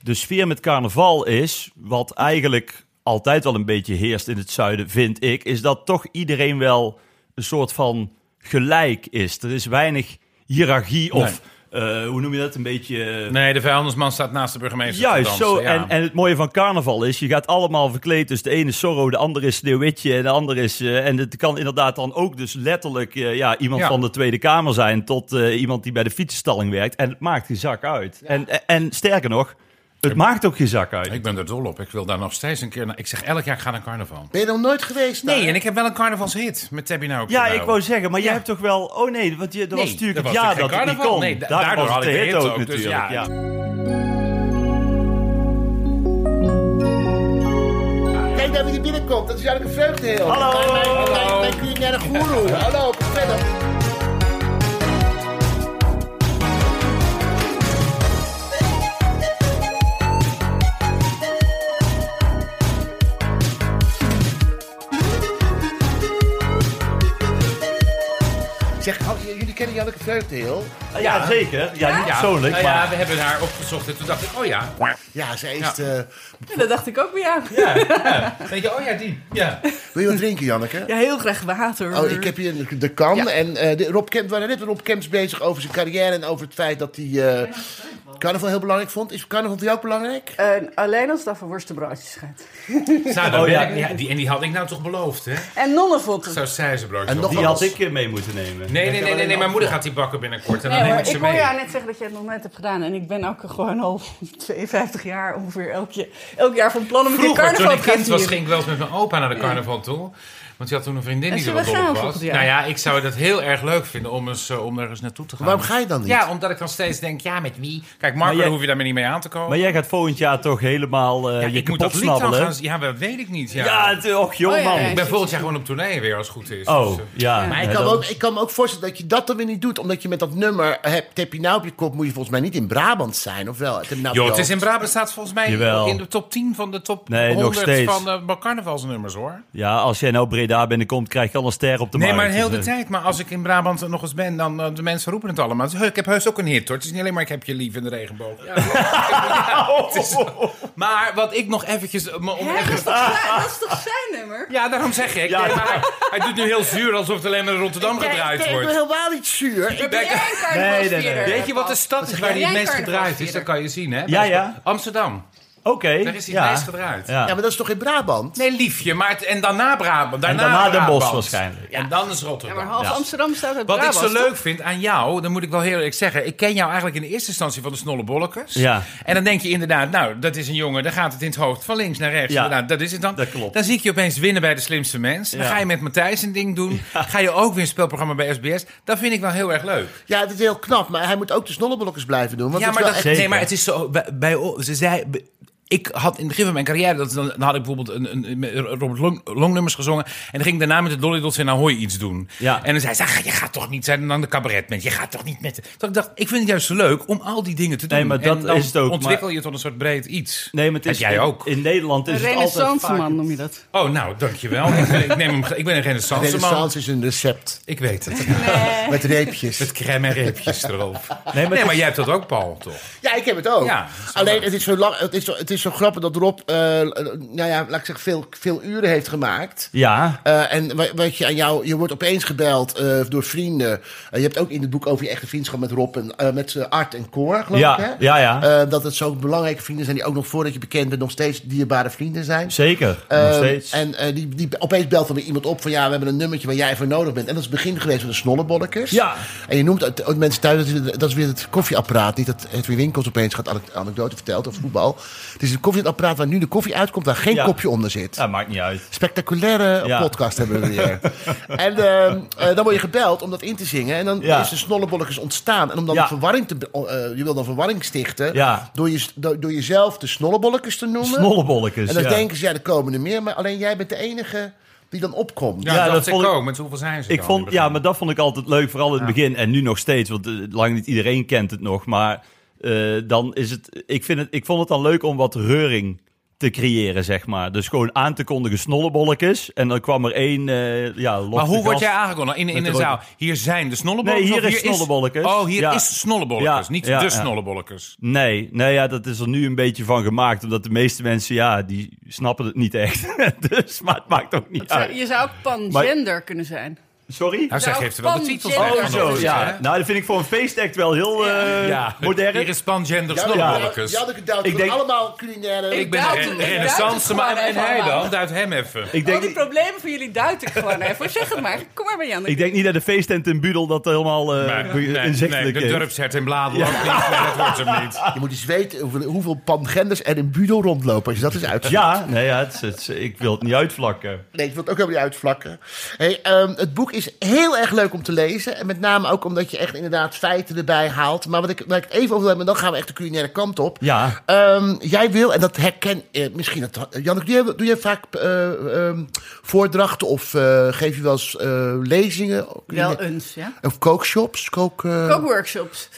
de sfeer met carnaval is, wat eigenlijk altijd wel een beetje heerst in het zuiden, vind ik, is dat toch iedereen wel een soort van gelijk is. Er is weinig hiërarchie of eh, hoe noem je dat? Een beetje. eh, Nee, de vuilnisman staat naast de burgemeester. te Juist, dansen, zo. ja. En, en het mooie van carnaval is, je gaat allemaal verkleed. Dus de ene is Zorro, de andere is Sneeuwwitje en de andere is... eh, en het kan inderdaad dan ook dus letterlijk eh, ja, iemand Ja. van de Tweede Kamer zijn... tot eh, iemand die bij de fietsenstalling werkt. En het maakt geen zak uit. En, en, en sterker nog, het maakt ook geen zak uit. Ik ben er dol op. Ik wil daar nog steeds een keer naar. Ik zeg elk jaar, ik ga naar carnaval. Ben je nog nooit geweest? daar? Nee, en ik heb wel een carnavalshit met Tabby nou. ja, ik wou zeggen, maar jij Ja. hebt toch wel... Oh nee, want je, dat was natuurlijk dat het was jaar dat natuurlijk het geen niet carnaval. Nee, da- kon. Daar daardoor was had het ik de hit hit ook, ook, dus natuurlijk. ja. ja. Kijk naar wie er binnenkomt, dat is eigenlijk een vreugdeheel. Hallo. Mijn- Mijn, mijn, mijn culinaire goeroe. Hallo, kom verder. Zeg, oh, j- jullie kennen Janneke Vreugdeheel? Ja, zeker. Ja, niet persoonlijk, Nou ja, maar... we hebben haar opgezocht en toen dacht ik, oh ja. Ja, ze Ja. is... eh, <laughs> Dat dacht ik ook bij jou. Ja, ja. Denk je, oh ja, die. Ja. wil je wat drinken, Janneke? Ja, heel graag water. Mhm. Oh, ik heb hier de kan. En eh, de, Rob Kemp, we waren net met Rob Kemps bezig over zijn carrière en over het feit dat hij eh carnaval heel belangrijk vond. Is carnaval voor jou ook belangrijk? Eh, alleen als het over worstenbroodjes gaat. Zou dat Oh, ja. werken? ja. die, en die had ik nou toch beloofd, hè? En nonnenvotten. Zou zij ze broodje En nog- op- Die had ik eh, mee moeten nemen. Nee, nee, nee, nee, nee, mijn moeder gaat die bakken binnenkort en dan Nee, neem hoor, ik ze ik hoor mee. jou net zeggen dat je het nog net hebt gedaan. En ik ben ook gewoon al <laughs> 52 jaar ongeveer elk, je- elk jaar van plan om een keer Vroeger, toen carnaval ik te gaan kind was, vieren. ging ik wel eens met mijn opa naar de carnaval toe. Want die had toen een vriendin En die er wel zullen we dol op gaan was. volgend jaar? Nou ja, ik zou dat heel erg leuk vinden om, eens, eh, om ergens naartoe te gaan. Waarom ga je dan niet? Ja, omdat ik dan steeds denk, ja, met wie? Kijk, Marco, Maar jij- daar hoef je daar maar niet mee aan te komen. Maar jij gaat volgend jaar toch helemaal eh, Ja, je ik moet dat kapot lied dan snabbelen. gaan... Ja, dat weet ik niet, ja. Ja, het- och joh, Oh, ja, man. ja, ik ben volgend jaar gewoon op tournee weer, als het goed is. Dus, Oh, eh, ja. Maar ik Ja, kan, me dan- ook, ik kan me ook voorstellen dat je dat dan weer niet doet. Omdat je met dat nummer, heb tap je nou op je kop, moet je volgens mij niet in Brabant zijn, of wel? Heb je nou op Joh, je het is in hoofd? Brabant staat volgens mij Jawel. in de top 10 van de top Nee, nog 100 steeds. van de carnavalsnummers, hoor. Ja, als jij nou Breda binnenkomt, krijg je al een ster op de Nee, maar markt. heel de Dus, eh, tijd. Maar als ik in Brabant nog eens ben, dan eh, de mensen roepen het allemaal. Dus, "He, ik heb heus ook een hit, hoor. Het is niet alleen maar ik heb je lief in de regenboog. Ja, <laughs> het <laughs> is- maar wat ik nog eventjes... eh, me om- Hè, dat, is toch zijn, dat is toch zijn nummer? Ja, daarom zeg ik. Nee, maar hij, hij doet nu heel zuur alsof het alleen maar in Rotterdam Nee, gedraaid ik ben wordt. helemaal niet zuur. Ben jij een Nee, carnavalsvierder? nee, nee. Weet je wat de stad is waar die Eh, jij het meest gedraaid is? carnavalsvierder? Dat kan je zien, hè? Ja, ja. Amsterdam. Oké. Daar is hij ja. het meest gedraaid. Ja. Ja, maar dat is toch in Brabant? Nee, liefje. Maar het- en daarna Brabant. Daarna, daarna Den Brabant. Bosch waarschijnlijk. En dan is Ja, Rotterdam. maar half Ja. Amsterdam staat uit Wat Brabant. ik zo leuk vind aan jou, dan moet ik wel heel eerlijk zeggen. Ik ken jou eigenlijk in de eerste instantie van de snollebollekers. Ja. En dan denk je inderdaad, nou, dat is een jongen. Dan gaat het in het hoofd van links naar rechts. Ja. Inderdaad, dat is het dan. Dat klopt. Dan zie ik je opeens winnen bij de slimste mens. Dan Ja. ga je met Matthijs een ding doen. Ga je ook weer een spelprogramma bij SBS. Dat vind ik wel heel erg leuk. Ja, dat is heel knap, maar hij moet ook de snolleblokkers blijven doen. Want ja, het is maar, wel dat, echt- echt- nee, maar het is zo. Bij, bij o- ze zei. b- Ik had in het begin van mijn carrière, dat, dan, dan had ik bijvoorbeeld een, een, met Robert Long, Longnummers gezongen. En dan ging ik daarna met de Dolly Dots in Ahoy iets doen. Ja. En dan zei ze, "Ach, je gaat toch niet zijn dan de cabaretmens. Je gaat toch niet met... Toen ik dacht, ik vind het juist zo leuk om al die dingen te doen. Nee, maar dat en dan is het ook, maar- ontwikkel je tot een soort breed iets. Nee, maar het Heb is, jij ook? In Nederland Een is het altijd renaissance vaak... man noem je dat. Oh, nou, dankjewel. ik, ben, ik, neem hem, ge- ik ben een renaissance man. Renaissance is een recept Ik weet het. met <laughs> reepjes. Met crème en reepjes erop. Nee, maar Nee, het maar is- jij hebt dat ook, Paul, toch? Ja, ik heb het ook. Ja, dat is wel Alleen, waar. het is, zo lang, het, is zo, het is zo grappig dat Rob, eh, eh, nou ja, laat ik zeggen, veel, veel uren heeft gemaakt. Ja. Eh, en wa- wat je aan jou, je wordt opeens gebeld eh, door vrienden. Eh, je hebt ook in het boek over je echte vriendschap met Rob en eh, met eh, Art en Cor, geloof Ja, ik. Hè? ja, ja. Eh, dat het zo belangrijke vrienden zijn die ook nog voordat je bekend bent nog steeds dierbare vrienden zijn. Zeker. Ehm, nog steeds. En eh, die, die, opeens belt dan weer iemand op van ja, we hebben een nummertje waar jij voor nodig bent. En dat is het begin geweest van de snollebollekers. Ja. En je noemt het, oh, mensen thuis, dat is, dat is weer het koffieapparaat. Niet dat Edwin Winkels opeens gaat ane- anekdote vertelt of voetbal. Het is het koffieapparaat waar nu de koffie uitkomt, waar geen Ja. kopje onder zit. Ja, maakt niet uit. Spectaculaire Ja. podcast hebben we weer. <laughs> en ehm, eh, dan word je gebeld om dat in te zingen. En dan Ja. is de snollebollekers ontstaan. En om dan Ja. verwarring te, be- eh, je wil dan verwarring stichten. Ja. Door, je, door, door jezelf de snollebollekers te noemen. Snollebollekes. En dan ja. denken ze, ja, er komen er meer, maar alleen jij bent de enige die dan opkomt. Ja, Ja, dat, dat ik vond ik- ook. Met hoeveel zijn ze Ik dan in vond, het begin? ja, maar dat vond ik altijd leuk, vooral in het Ja. begin en nu nog steeds. Want eh, lang niet iedereen kent het nog. Maar eh, dan is het ik, vind het. ik vond het dan leuk om wat reuring te creëren, zeg maar. Dus gewoon aan te kondigen snollebolletjes. En dan kwam er één, eh ja, Maar hoe word gast. jij aangekomen? In, in Met een de zaal. rode- Hier zijn de snollebollekers. Nee, hier of is snollebollekers. Oh, hier Ja. is snollebollekers. Ja, Niet ja, de ja. snollebollekers. Nee, nee ja, dat is er nu een beetje van gemaakt. Omdat de meeste mensen, ja, die snappen het niet echt. <laughs> dus, maar het maakt ook niet Zou- uit. Je zou ook pangender kunnen zijn. Sorry? Nou, zij Nou, geeft er wel de titels pan- aan. Oh, Ja, zo, Hè? ja. Nou, dat vind ik voor een feestact wel heel eh, Ja. modern. Hier is pangender Ja, ja, snollebollekers. ja, ja, Ik denk- allemaal culinaire... Ik ben duid re- hem, ik duid renaissance, hem maar gewoon en even hij allemaal. dan? Duidt hem even. Ik Al die problemen van jullie duid ik gewoon even. Zeg het maar. Kom maar bij Jan. Ik denk niet dat de feesttent in Budel dat helemaal eh Maar, be- inzichtelijk de is. dorpshert in Bladerland niet, maar dat wordt hem <laughs> niet. Je moet eens weten hoeveel, hoeveel pangenders er in Budel rondlopen. Als je dat eens uitzoekt. Ja, nee, ja het, is- het is- ik wil het niet uitvlakken. Nee, ik wil het ook helemaal niet uitvlakken. Hey, ehm, het boek is heel erg leuk om te lezen. En met name ook omdat je echt inderdaad feiten erbij haalt. Maar wat ik, waar ik het even over wil hebben, en dan gaan we echt de culinaire kant op. Ja, Ehm, jij wil, en dat herken eh, misschien dat. Janneke, doe jij, doe jij vaak eh, ehm, voordrachten of eh, geef je wel eens eh, lezingen? Wel eens, ja. Of kookshops? Kook, eh, Kookworkshops.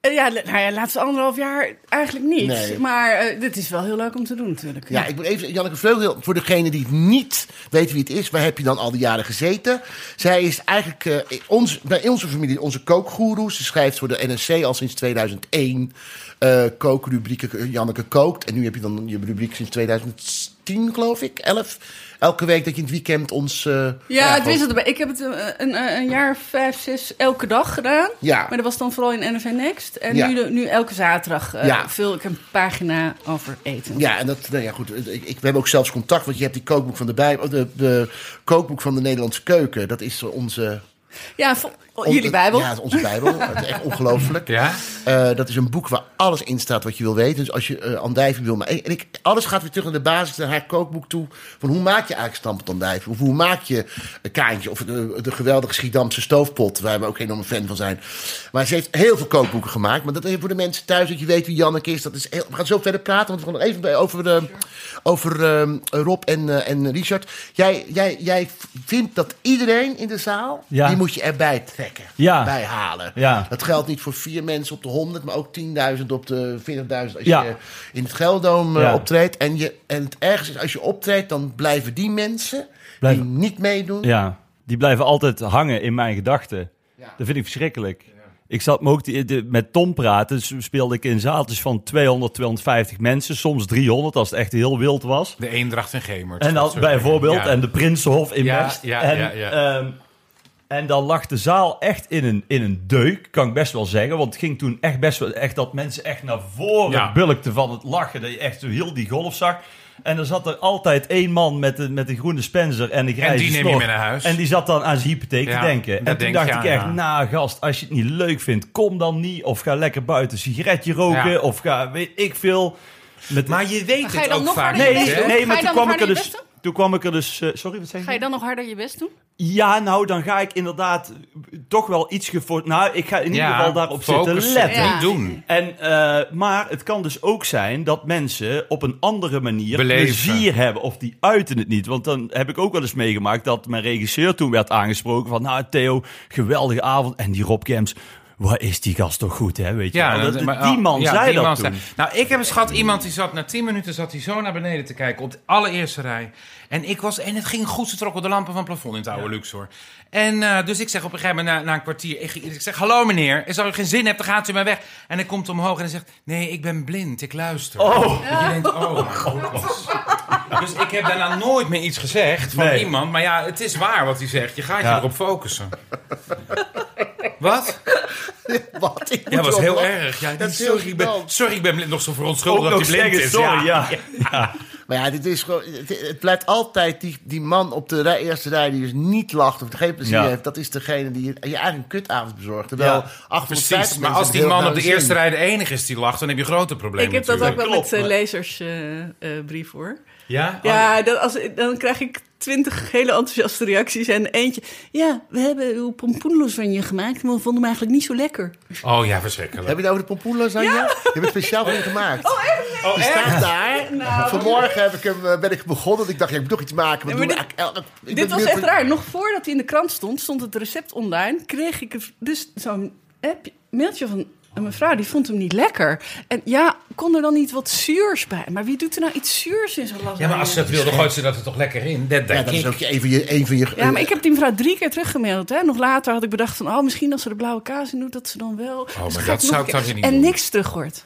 Eh, Ja, le- nou ja, laatste anderhalf jaar eigenlijk niet. Nee. Maar eh, dit is wel heel leuk om te doen natuurlijk. Ja, ik ben even, Janneke Vleugel, voor degene die het niet weet wie het is, waar heb je dan al die jaren gezeten? Zij is eigenlijk eh, ons, bij onze familie onze kookgoeroe. Ze schrijft voor de NRC al sinds 2001 eh kookrubrieken. eh, Janneke kookt. En nu heb je dan je rubriek sinds 2010, geloof ik, 11. Elke week dat je in het weekend ons. eh, Ja, het gewoon- wisselt erbij. Ik heb het eh, een, een, een jaar of vijf, zes elke dag gedaan. Ja. Maar dat was dan vooral in NRC Next. En Ja. nu, de- nu elke zaterdag eh, Ja. vul ik een pagina over eten. Ja, en dat, nou ja, goed. Ik, ik, we hebben ook zelfs contact, want je hebt die kookboek van de, bij, de, de kookboek van de Nederlandse keuken. Dat is onze. Ja, vol- jullie Bijbel. Ja, onze Bijbel. Het is echt ongelooflijk. Ja? Eh, dat is een boek waar alles in staat wat je wil weten. Dus als je eh andijvie wil maken. En ik, alles gaat weer terug naar de basis, naar haar kookboek toe. Van hoe maak je eigenlijk stampot andijvie? Of hoe maak je een kaantje? Of de, de geweldige Schiedamse stoofpot, waar we ook enorm fan van zijn. Maar ze heeft heel veel kookboeken gemaakt. Maar dat is voor de mensen thuis, dat je weet wie Janneke is. Dat is heel, we gaan zo verder praten, want we gaan nog even bij- over, de, over ehm, Rob en, eh, en Richard. Jij, jij, jij vindt dat iedereen in de zaal, Ja. die moet je erbij trekken. Ja. Bij halen. Ja. Dat geldt niet voor vier mensen op de 100, maar ook 10.000 op de 40.000 als Ja. je in het Geldoom eh, Ja. optreedt. En, je, en het ergste is, als je optreedt, dan blijven die mensen Blijven- die niet meedoen. ja, die blijven altijd hangen in mijn gedachten. Ja. Dat vind ik verschrikkelijk. Ik zat me ook die- de- met Tom praten, dus speelde ik in zaaltjes van 200, 250 mensen, soms 300 als het echt heel wild was. De Eendracht en Gemert. En dan Dat soort bijvoorbeeld, dingen. Ja. en de Prinsenhof in Ja, Best. ja, en, ja, ja. ehm, en dan lag de zaal echt in een, in een deuk, kan ik best wel zeggen. Want het ging toen echt best wel echt dat mensen echt naar voren Ja. bulkten van het lachen. Dat je echt zo heel die golf zag. En er zat er altijd één man met de, met de groene Spencer en de grijze die neem je snor. mee naar huis. En die zat dan aan zijn hypotheek Ja, te denken. En dat toen denk dacht je ik aan, echt, ja. nou gast, als je het niet leuk vindt, kom dan niet. Of ga lekker buiten een sigaretje roken. Ja. Of ga, weet ik veel. Met Maar je weet je het dan ook nog vaak harder niet, Nee, je best hè? doen? nee, Ga maar je toen dan kwam ik er harder je dus. best Toen kwam ik er dus. eh, sorry, wat zeg je? Ga je dan nog harder je best doen? Ja, nou, dan ga ik inderdaad eh, toch wel iets gevoerd. Nou, ik ga in ieder geval daarop zitten focussen, letten. Ja. Niet doen. En, eh, maar het kan dus ook zijn dat mensen op een andere manier Beleven. plezier hebben. Of die uiten het niet. Want dan heb ik ook wel eens meegemaakt dat mijn regisseur toen werd aangesproken van... Nou Theo, geweldige avond. En die Rob Kems, wat is die gast toch goed, hè? Weet je wel? Dat- dat- maar- oh, die man ja, zei die dat man toen. zei- nou, ik heb een schat, iemand die zat na 10 minuten zat hij zo naar beneden te kijken op de allereerste rij. En ik was, en het ging goed, ze trokken de lampen van het plafond in het oude Luxor. En eh, dus ik zeg op een gegeven moment na, na een kwartier, ik, ik zeg hallo meneer, en als u geen zin hebt, dan gaat u maar weg. En hij komt omhoog en hij zegt, nee, ik ben blind, ik luister. Oh. En je denkt, oh <laughs> mijn god. Dus ik heb daarna nooit meer iets gezegd van Nee. iemand. Maar ja, het is waar wat hij zegt. Je gaat je Ja. erop <laughs> focussen. Wat? <laughs> Wat? Ik Ja, moet dat was erop heel lachen. erg. Ja, Dat is heel sorry, ik ben, gênant. sorry, ik ben blind- nog zo Ook verontschuldigd dat nog hij blind zeggen, is. sorry, ja. ja. Maar ja, dit is gewoon, het, het blijft altijd die, die man op de rij, eerste rij die dus niet lacht of geen plezier Ja. heeft. Dat is degene die je, je eigenlijk een kutavond bezorgt. Terwijl Ja, 850 Precies, mensen maar als het die heel man op naar de hun zin eerste rij de enige is die lacht, dan heb je grote problemen ik heb dat ook natuurlijk. wel Klopt, met maar- lezersbrief hoor. Ja? Oh, Ja, dat, als, dan krijg ik twintig hele enthousiaste reacties. En eentje, ja, we hebben uw pompoenlos van je gemaakt. Maar we vonden hem eigenlijk niet zo lekker. Oh ja, verschrikkelijk. Heb je het over de pompoenlasagne? Ja. Je hebt het speciaal voor je gemaakt. Oh, echt? Die staat daar. Ah, nou, Vanmorgen heb ik hem, eh, ben ik begonnen. Ik dacht, ja, ik moet nog iets maken. Ja, Maar doen maar dit- we eigenlijk elke- ik ben Dit was benieuwd echt wat- raar. Nog voordat hij in de krant stond, stond het recept online. Kreeg ik het- dus zo'n app- mailtje van een mevrouw. Die vond hem niet lekker. En ja, kon er dan niet wat zuurs bij? Maar wie doet er nou iets zuurs in zo'n lasagne? Ja, maar als ze dat wil, dan gooit ze dat er toch lekker in. Dat Ja, denk dat is ik. ook een van je... Een van je Ja, maar ik heb die mevrouw drie keer teruggemaild. Hè. Nog later had ik bedacht van, oh, misschien als ze de blauwe kaas in doet, dat ze dan Oh, wel. Dus maar ga dat ik nog zou een ik keer- dan weer niet En doen. niks terug hoort.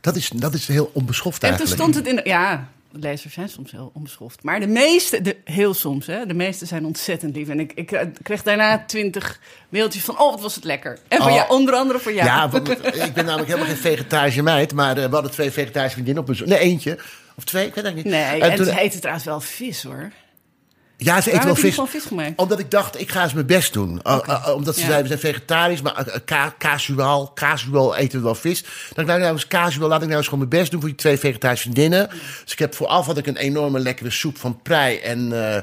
dat, is, dat is heel onbeschoft En toen eigenlijk. stond het in... de- Ja, lezers zijn soms heel onbeschoft. Maar de meeste, de, heel soms, hè, de meeste zijn ontzettend lief. En ik, ik eh, kreeg daarna twintig mailtjes van... Oh, wat was het lekker. En van Oh. jou, onder andere voor jou. Ja, want ik ben namelijk helemaal geen vegetarische meid. Maar eh, we hadden twee vegetarische vriendinnen op bezoek. Nee, eentje. Of twee, ik weet het eigenlijk niet. Nee, En en toen- ze heten trouwens wel vis, hoor. ja, ze Waarom eten wel heb je vis. van vis gemaakt? Omdat ik dacht, ik ga eens mijn best doen. Uh, uh, uh, omdat ze ja. zeiden, we zijn vegetarisch, maar eh, eh, ka- casuaal, casual eten we wel vis. Dan dacht ik, nou, nou eens casual, laat ik nou eens gewoon mijn best doen voor die twee vegetarische vriendinnen. Dus ik heb vooraf had ik een enorme lekkere soep van prei en, eh,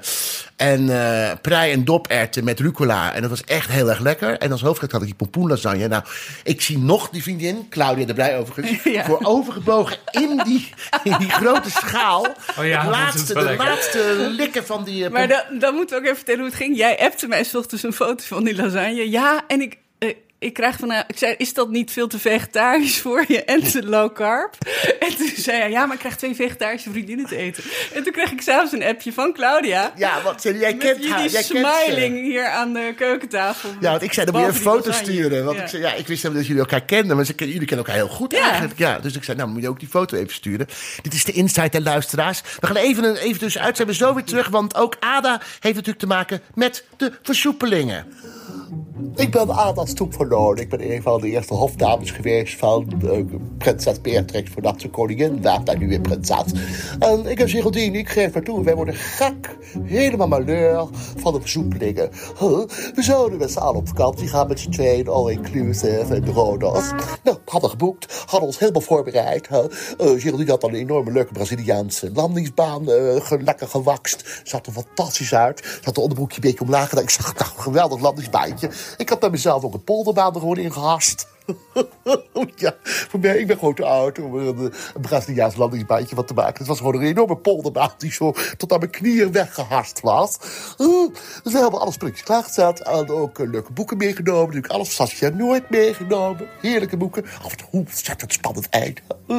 en eh, prei en doperwten met rucola. En dat was echt heel erg lekker. En als hoofdkant had ik die pompoenlasagne. Nou, ik zie nog die vriendin, Claudia de Brij overigens, <laughs> Ja. voor overgebogen in die, in die grote schaal. Oh ja, het dat is laatste, wel de lekker. laatste likken van die eh, Maar dan, dan moeten we ook even vertellen hoe het ging. Jij appte mij 's ochtends een foto van die lasagne. Ja, en ik, eh, ik krijg van haar... Ik zei, is dat niet veel te vegetarisch voor je en te low carb? En toen zei hij, ja, maar ik krijg twee vegetarische vriendinnen te eten. En toen kreeg ik s'avonds een appje van Claudia. Ja, want ze- jij Met kent haar. jullie Jij Kent smiling ze. hier aan de keukentafel. Ja, want ik zei, dan moet je een Behalve die foto lasagne. sturen. Want Ja. ik, zei, ja, ik wist helemaal dat jullie elkaar kenden, maar ze, ken- jullie kennen elkaar heel goed Ja. eigenlijk. Ja, dus ik zei, nou moet je ook die foto even sturen. Dit is de insight der luisteraars. We gaan even, een- even dus uit, zijn we zo weer terug. Want ook Ada heeft natuurlijk te maken met de versoepelingen. Ik ben Ada Stoepverloor. Ik ben een van de eerste hofdames geweest van eh, prinses Beatrix. Voordat ze koningin werd en nu weer prinses. En ik en Geraldine, ik geef maar toe. Wij worden gek, helemaal malheur van de versoepelingen. Huh? We zouden met z'n allen op vakantie gaan met z'n tweeën. All inclusive en de Rodos. Nou, hadden geboekt. Hadden ons helemaal voorbereid. Huh? Eh, Geraldine had dan een enorme leuke Braziliaanse landingsbaan. eh, ge- lekker gewakst. Zat er fantastisch uit. Zat de onderbroekje een beetje omlaag. gedaan. Ik zag, nou, geweldig landingsbaantje. Ik had bij mezelf ook een polderbaan er gewoon in gehast. <laughs> ja, voor mij, ik ben gewoon te oud om er een, een Braziliaans landingsbaantje van te maken. Het was gewoon een enorme polderbaan die zo tot aan mijn knieën weggehast was. Eh, Dus we hebben alles prikjes klaargezet. En ook eh, leuke boeken meegenomen. Natuurlijk alles van Saskia nooit meegenomen. Heerlijke boeken. Af en toe ontzettend spannend eind. Eh,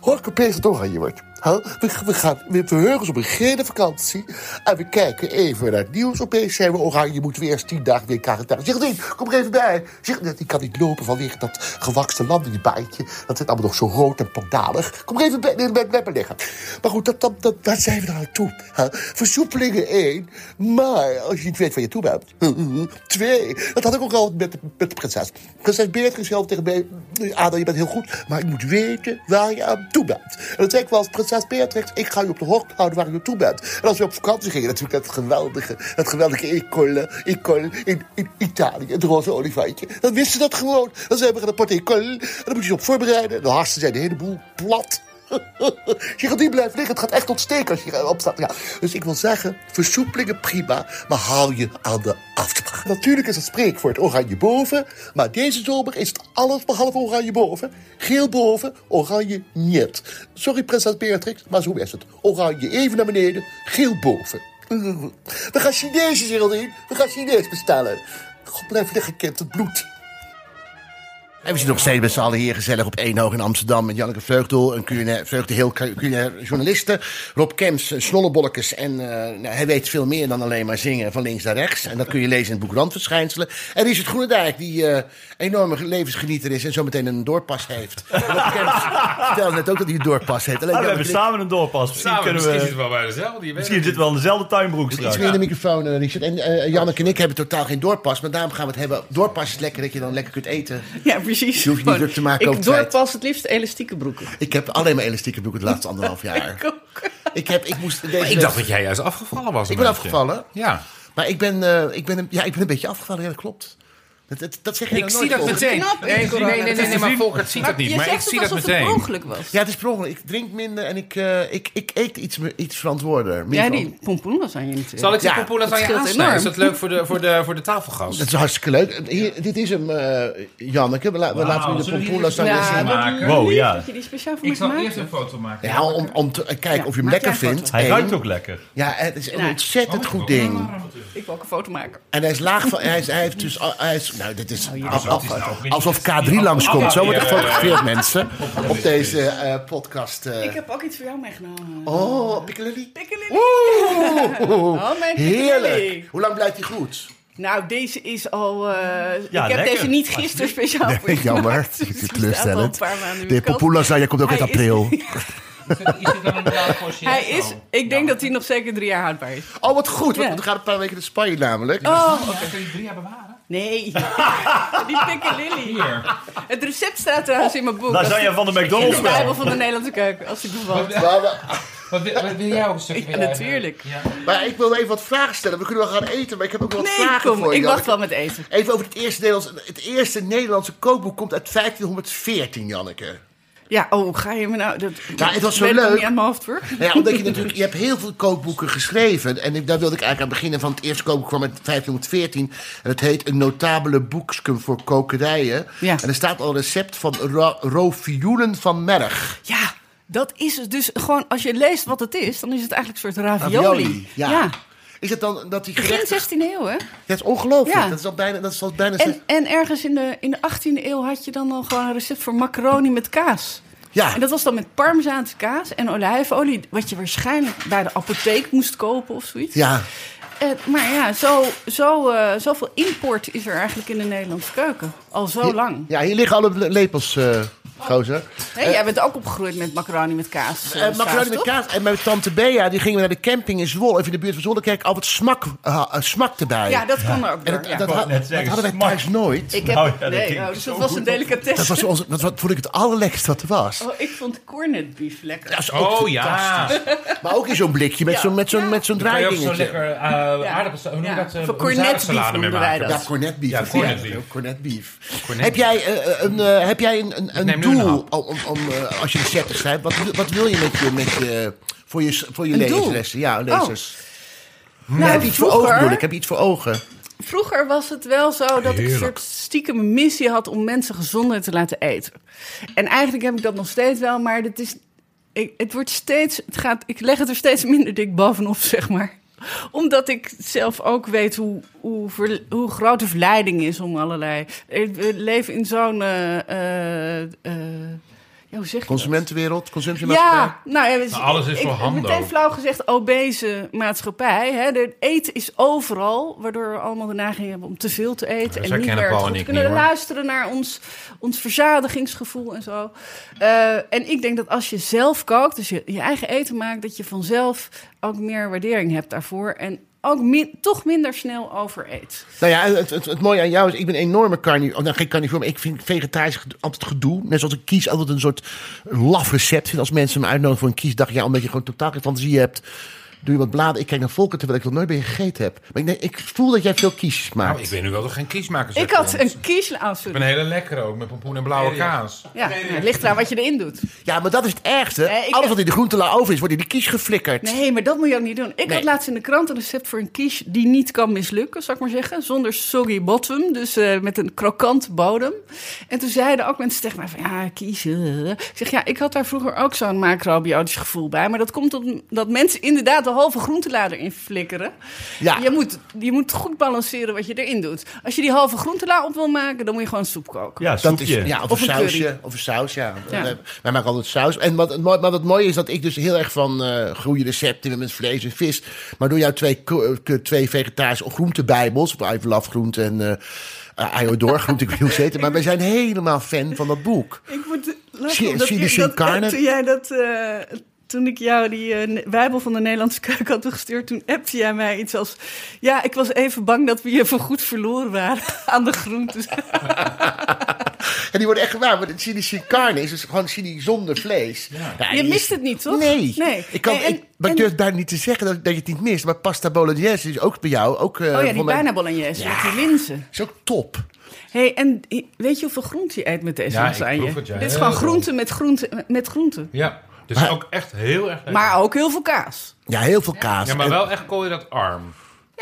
Hoor ik opeens dat het oranje wordt. Huh? We, we, gaan, we verheugen ons op een gele vakantie. En we kijken even naar het nieuws. Opeens zijn we oh, oranje, moeten we eerst tien dagen weer in quarantaine. Geraldine, kom er even bij. Geraldine, die kan niet lopen vanwege dat gewakste landingsbaantje. Dat zit allemaal nog zo rood en pandalig. Kom er even bij, nee, bij, bij me liggen. Maar goed, dat, dat, dat, daar zijn we naar aan toe. Huh? Versoepelingen één. Maar als je niet weet waar je toe bent. <laughs> Twee, dat had ik ook al met, de- met de prinses. Prinses Beatrix zei altijd tegen mij... Ada, je bent heel goed, maar ik moet weten waar je aan toe bent. En dat zei ik wel als prinses Beatrix... ik ga je op de hoogte houden waar je aan toe bent. En als we op vakantie gingen, natuurlijk dat geweldige... dat geweldige Ecole, Ecole in, in Italië, het roze olifantje. Dan wisten ze dat gewoon. Dan zijn we gaan naar Porte Ecole... en dan moet je je op voorbereiden. En dan harsten zij de hele boel plat... <laughs> Je gaat niet blijven liggen. Het gaat echt ontsteken als je opstaat. Ja. Dus ik wil zeggen, versoepelingen prima, maar hou je aan de afspraak. Natuurlijk is het spreekwoord oranje boven, maar deze zomer is het alles behalve oranje boven. Geel boven, oranje niet. Sorry prinses Beatrix, maar zo is het. Oranje even naar beneden, geel boven. <laughs> We gaan Chinees, Geraldine. We gaan Chinees bestellen. God, blijf liggen, kind, het bloed. En we zitten nog steeds met z'n allen hier gezellig op één hoog in Amsterdam... met Janneke Vreugdel, een culinair- Vreugde heel cu- culinair journaliste... Rob Kems, eh, snollebollekes en eh, nou, hij weet veel meer dan alleen maar zingen van links naar rechts. En dat kun je lezen in het boek Randverschijnselen. En Richard Groenendijk, die eh enorme levensgenieter is en zometeen een doorpas heeft. Rob Kems vertelde net ook dat hij een doorpas heeft. Alleen Ah, Janneke we hebben knikt. samen een doorpas. Misschien, Samen, kunnen misschien we, zitten we wel bij dezelfde. je weet misschien het zitten we wel in dezelfde tuinbroek Iets straks. meer in de microfoon, eh, Richard. En eh, Janneke en ik hebben totaal geen doorpas, maar daarom gaan we het hebben. Doorpas is lekker dat je dan lekker kunt eten. Ja, precies. Je hoeft je niet Gewoon, druk te maken over Ik het feit. doorpas het liefst elastieke broeken. Ik heb alleen maar elastieke broeken het laatste anderhalf jaar. <laughs> Ik ook. Ik, heb, ik, moest deze niet. Ik dacht dat jij juist afgevallen was. Ik een ben beetje. afgevallen. Ja. Maar ik ben, eh, ik, ben een, ja, ik ben een beetje afgevallen, ja, dat klopt. Dat, dat, dat zeg je Ik dan zie nooit, dat Volker. meteen. Knap, Nee, nee, Volker. nee, nee, nee, Dat is maar Volkert ziet dat niet. je Maar ik zegt zie het dat alsof het per meteen. ongeluk was. Ja, het is per ongeluk. Ik drink minder en ik, eh, ik, ik eet iets, me- iets verantwoorder. Meer Ja, verant- die pompoen was aan je natuurlijk. Zal ik die Ja, pompoen aan dat je scheelt aansnijden? Is enorm. dat leuk voor de, voor de, voor de tafelgast? Dat is hartstikke leuk. Hier, dit is hem, eh, Janneke. We, la- we laten nu de zullen we pompoen laten Ja, zien. wat maken. lief Wow, ja. dat je die speciaal voor Ik me zal maakt. eerst een foto maken. Ja, om, om te eh, kijken of je hem maak lekker jij een vindt. Hij Eén. ruikt ook lekker. Ja, het is een Ja. ontzettend goed ding. Ik wil ook een foto maken. En hij is laag van... Hij, is, hij heeft dus... al- Hij is, nou, dit is af- af- is nou weer- alsof K3 langskomt. Zo wordt er gefotografeerd, mensen. Op deze eh, podcast. eh. Ik heb ook iets voor jou meegenomen. Oh, pikkelili. Pikkelili. <laughs> Oeh, Oh, mijn heerlijk. pikkelili. Hoe lang blijft hij goed? Nou, deze is al. eh, ik heb lekker. deze niet gisteren speciaal voor je Jammer. gemaakt. dus Het is Die staat al een teleurstellend. paar maanden in De mijn kast. pompoen lasagne komt ook uit Hij is- april. <laughs> Hij is, ik denk dat hij nog zeker drie jaar houdbaar is. <laughs> Oh, wat goed. Want Ja. Oh. we gaan een paar weken naar Spanje namelijk. Kun je drie jaar bewaren? <laughs> Nee. die pikkelili. Het recept staat trouwens in mijn boek. Als Lasagne die- Nou, van de in de McDonald's wel. Bijbel van de Nederlandse keuken, als ik bevalt. Maar, we- Wat wil, wat wil jij ook een stukje? eh, Ja, natuurlijk. maar ik wil even wat vragen stellen. We kunnen wel gaan eten, maar ik heb ook wel wat Nee, vragen kom, voor je. ik wacht Janneke. wel met eten. Even over het eerste Nederlandse... Het eerste Nederlandse kookboek komt uit 1514, Janneke. Ja, oh, ga je me nou... Dat, Ja, het was zo ben ik nog leuk. niet aan mijn hoofd, hoor. Nou ja, omdat je natuurlijk... Je hebt heel veel kookboeken geschreven. En ik, daar wilde ik eigenlijk aan beginnen van het eerste kookboek kwam uit 1514. En het heet Een notabele boekskum voor kokerijen. Ja. En er staat al een recept van Ro Rovioelen van Merg. Ja, dat is het. Dus gewoon, als je leest wat het is, dan is het eigenlijk een soort ravioli. ja. ja. Is het dan dat die Begin gerechten... 16e eeuw, hè? Dat is ongelooflijk. Ja. Dat is al bijna... Dat is al bijna En, en ergens in de, in de 18e eeuw had je dan al gewoon een recept voor macaroni met kaas. Ja. En dat was dan met parmezaanse kaas en olijfolie, wat je waarschijnlijk bij de apotheek moest kopen of zoiets. Ja. Eh, maar ja, zo, zo, eh, zoveel import is er eigenlijk in de Nederlandse keuken. Al zo lang. Oh, Ja, hier liggen alle le- lepels, eh, gozer. Hé, jij bent ook opgegroeid met macaroni met kaas. eh, Eh, macaroni saus, met toch? kaas. En met tante Bea, die gingen we naar de camping in Zwolle. Even in de buurt van Zwolle. Kijk, al wat smak, eh, eh, smak erbij. Ja, dat kan er ook en door. dat, ja. dat, wou had- net dat zeggen, hadden wij smak. thuis nooit. Ik heb, Nou ja, dat nee, klinkt oh, dus zo dat was goed, een toch? Dat, delicatesse. was ons, dat was- vond ik het allerlekkerste dat er was. Oh, ik vond corned beef lekker. Dat is ook Oh fantastisch. ja. Maar ook in zo'n blikje met zo'n met zo'n met zo'n Kan je ook zo draaidingetje. lekker eh aardappels... Hoe noem je Ja. dat? eh, Voor cornetbeef huzarensalade mee noemen wij maken? dat. Ja, cornetbeef. Ja, cornetbeef. Ja, cornetbeef. Cornetbeef. Heb jij eh, een, eh, heb jij een, een, een neem nu een doel hap. om, om, om, eh, als je recepten schrijft? Wat, wil- wat wil je met je, met je voor je, voor je Een doel? leeslessen? Ja, lezers. Nou, heb je iets voor ogen, bedoel ik? Ik Heb je iets voor ogen? Vroeger was het wel zo dat ik een soort stiekem missie had om mensen gezonder te laten eten. En eigenlijk heb ik dat nog steeds wel, maar het is, ik, het wordt steeds, het gaat, ik leg het er steeds minder dik bovenop, zeg maar. Omdat ik zelf ook weet hoe, hoe, ver- hoe groot de verleiding is om allerlei. We leven in zo'n. eh, eh, eh, ja, hoe zeg je dat? Consumentenwereld, consumptiemaatschappij? Ja, nou, ja, dus Nou, alles is ik- voor hando. Meteen flauw gezegd, obese maatschappij. Hè? De eten is overal, waardoor we allemaal de neiging hebben om te veel te eten. dat en niet herkennen meer Paul goed en ik te kunnen niet, hoor. luisteren naar ons, ons verzadigingsgevoel en zo. Eh, en ik denk dat als je zelf kookt, dus je, je eigen eten maakt, dat je vanzelf ook meer waardering hebt daarvoor. En ook min- toch minder snel overeet. Nou ja, het, het, het mooie aan jou is, ik ben een enorme carnivore. Nou, geen carnivore, maar ik vind vegetarisch gedo- altijd gedoe. Net zoals ik kies altijd een soort laf recept vind. Als mensen me uitnodigen voor een kiesdag, ja, omdat je gewoon totaal geen fantasie hebt. Doe je wat bladen. Ik kijk naar Volker, terwijl ik nog nooit bij je gegeten heb. Maar ik, denk, ik voel dat jij veel kiesjes maakt. Nou, ik ben nu wel toch geen kiesmaker. zeg Ik had maar. een kiesle Ik afzoeting. ben een hele lekkere ook, met pompoen en blauwe kaas. Ja, het ligt eraan wat je erin doet. Ja, maar dat is het ergste. Nee, ik- Alles wat in de groentela over is, wordt in de kies geflikkerd. Nee, maar dat moet je ook niet doen. Ik Nee. had laatst in de krant een recept voor een quiche die niet kan mislukken, zou ik maar zeggen. Zonder soggy bottom, dus eh, met een krokante bodem. En toen zeiden ook mensen tegen mij van, ja, quiche. eh. Ik zeg, ja, ik had daar vroeger ook zo'n macrobiotisch gevoel bij. Maar dat komt omdat mensen inderdaad de halve groentelader in flikkeren. Ja. Je, moet, je moet goed balanceren wat je erin doet. Als je die halve groentelaar op wil maken, dan moet je gewoon soep koken. Ja, Dat is, soepje. ja, of, Of een een curry. sausje. Of een saus, ja. Ja. Wij, wij maken altijd saus. En wat, het mooi- maar wat mooi is dat ik dus heel erg van eh goede recepten met vlees en vis. Maar door jouw twee, ko- eh, twee vegetarische of groentebijbels, of Ivelaf groente en eh Ayodor groente, ik weet niet hoe ze heten. Maar wij zijn helemaal fan van dat boek. Ik moet Zie- lachen, zie je die dat, <laughs> Shinkarne? toen jij dat eh, toen ik jou die eh, ne- Bijbel van de Nederlandse keuken had toegestuurd, toen appte jij mij iets als... Ja, ik was even bang dat we je voorgoed verloren waren <laughs> aan de groentes. En die worden echt gewaar. Maar chili sin carne is dus gewoon chili zonder vlees. Ja. Je die is- mist het niet, toch? Nee. Nee. Ik, kan, Nee, en- ik, maar ik en- durf daar niet te zeggen dat, dat je het niet mist. Maar pasta bolognese is ook bij jou. Ook, eh, Oh ja, die voor mij- bijna bolognese Ja. met die linzen. Is ook top. hey, en weet je hoeveel groente je eet met deze Ja, ik lasagne? proef het, ja. Dit is Heel gewoon veel. groente met groente met groente. Ja, dus ook echt heel erg lekker. Maar ook heel veel kaas. Ja, heel veel kaas. ja, maar En- wel echt koolhydraatarm.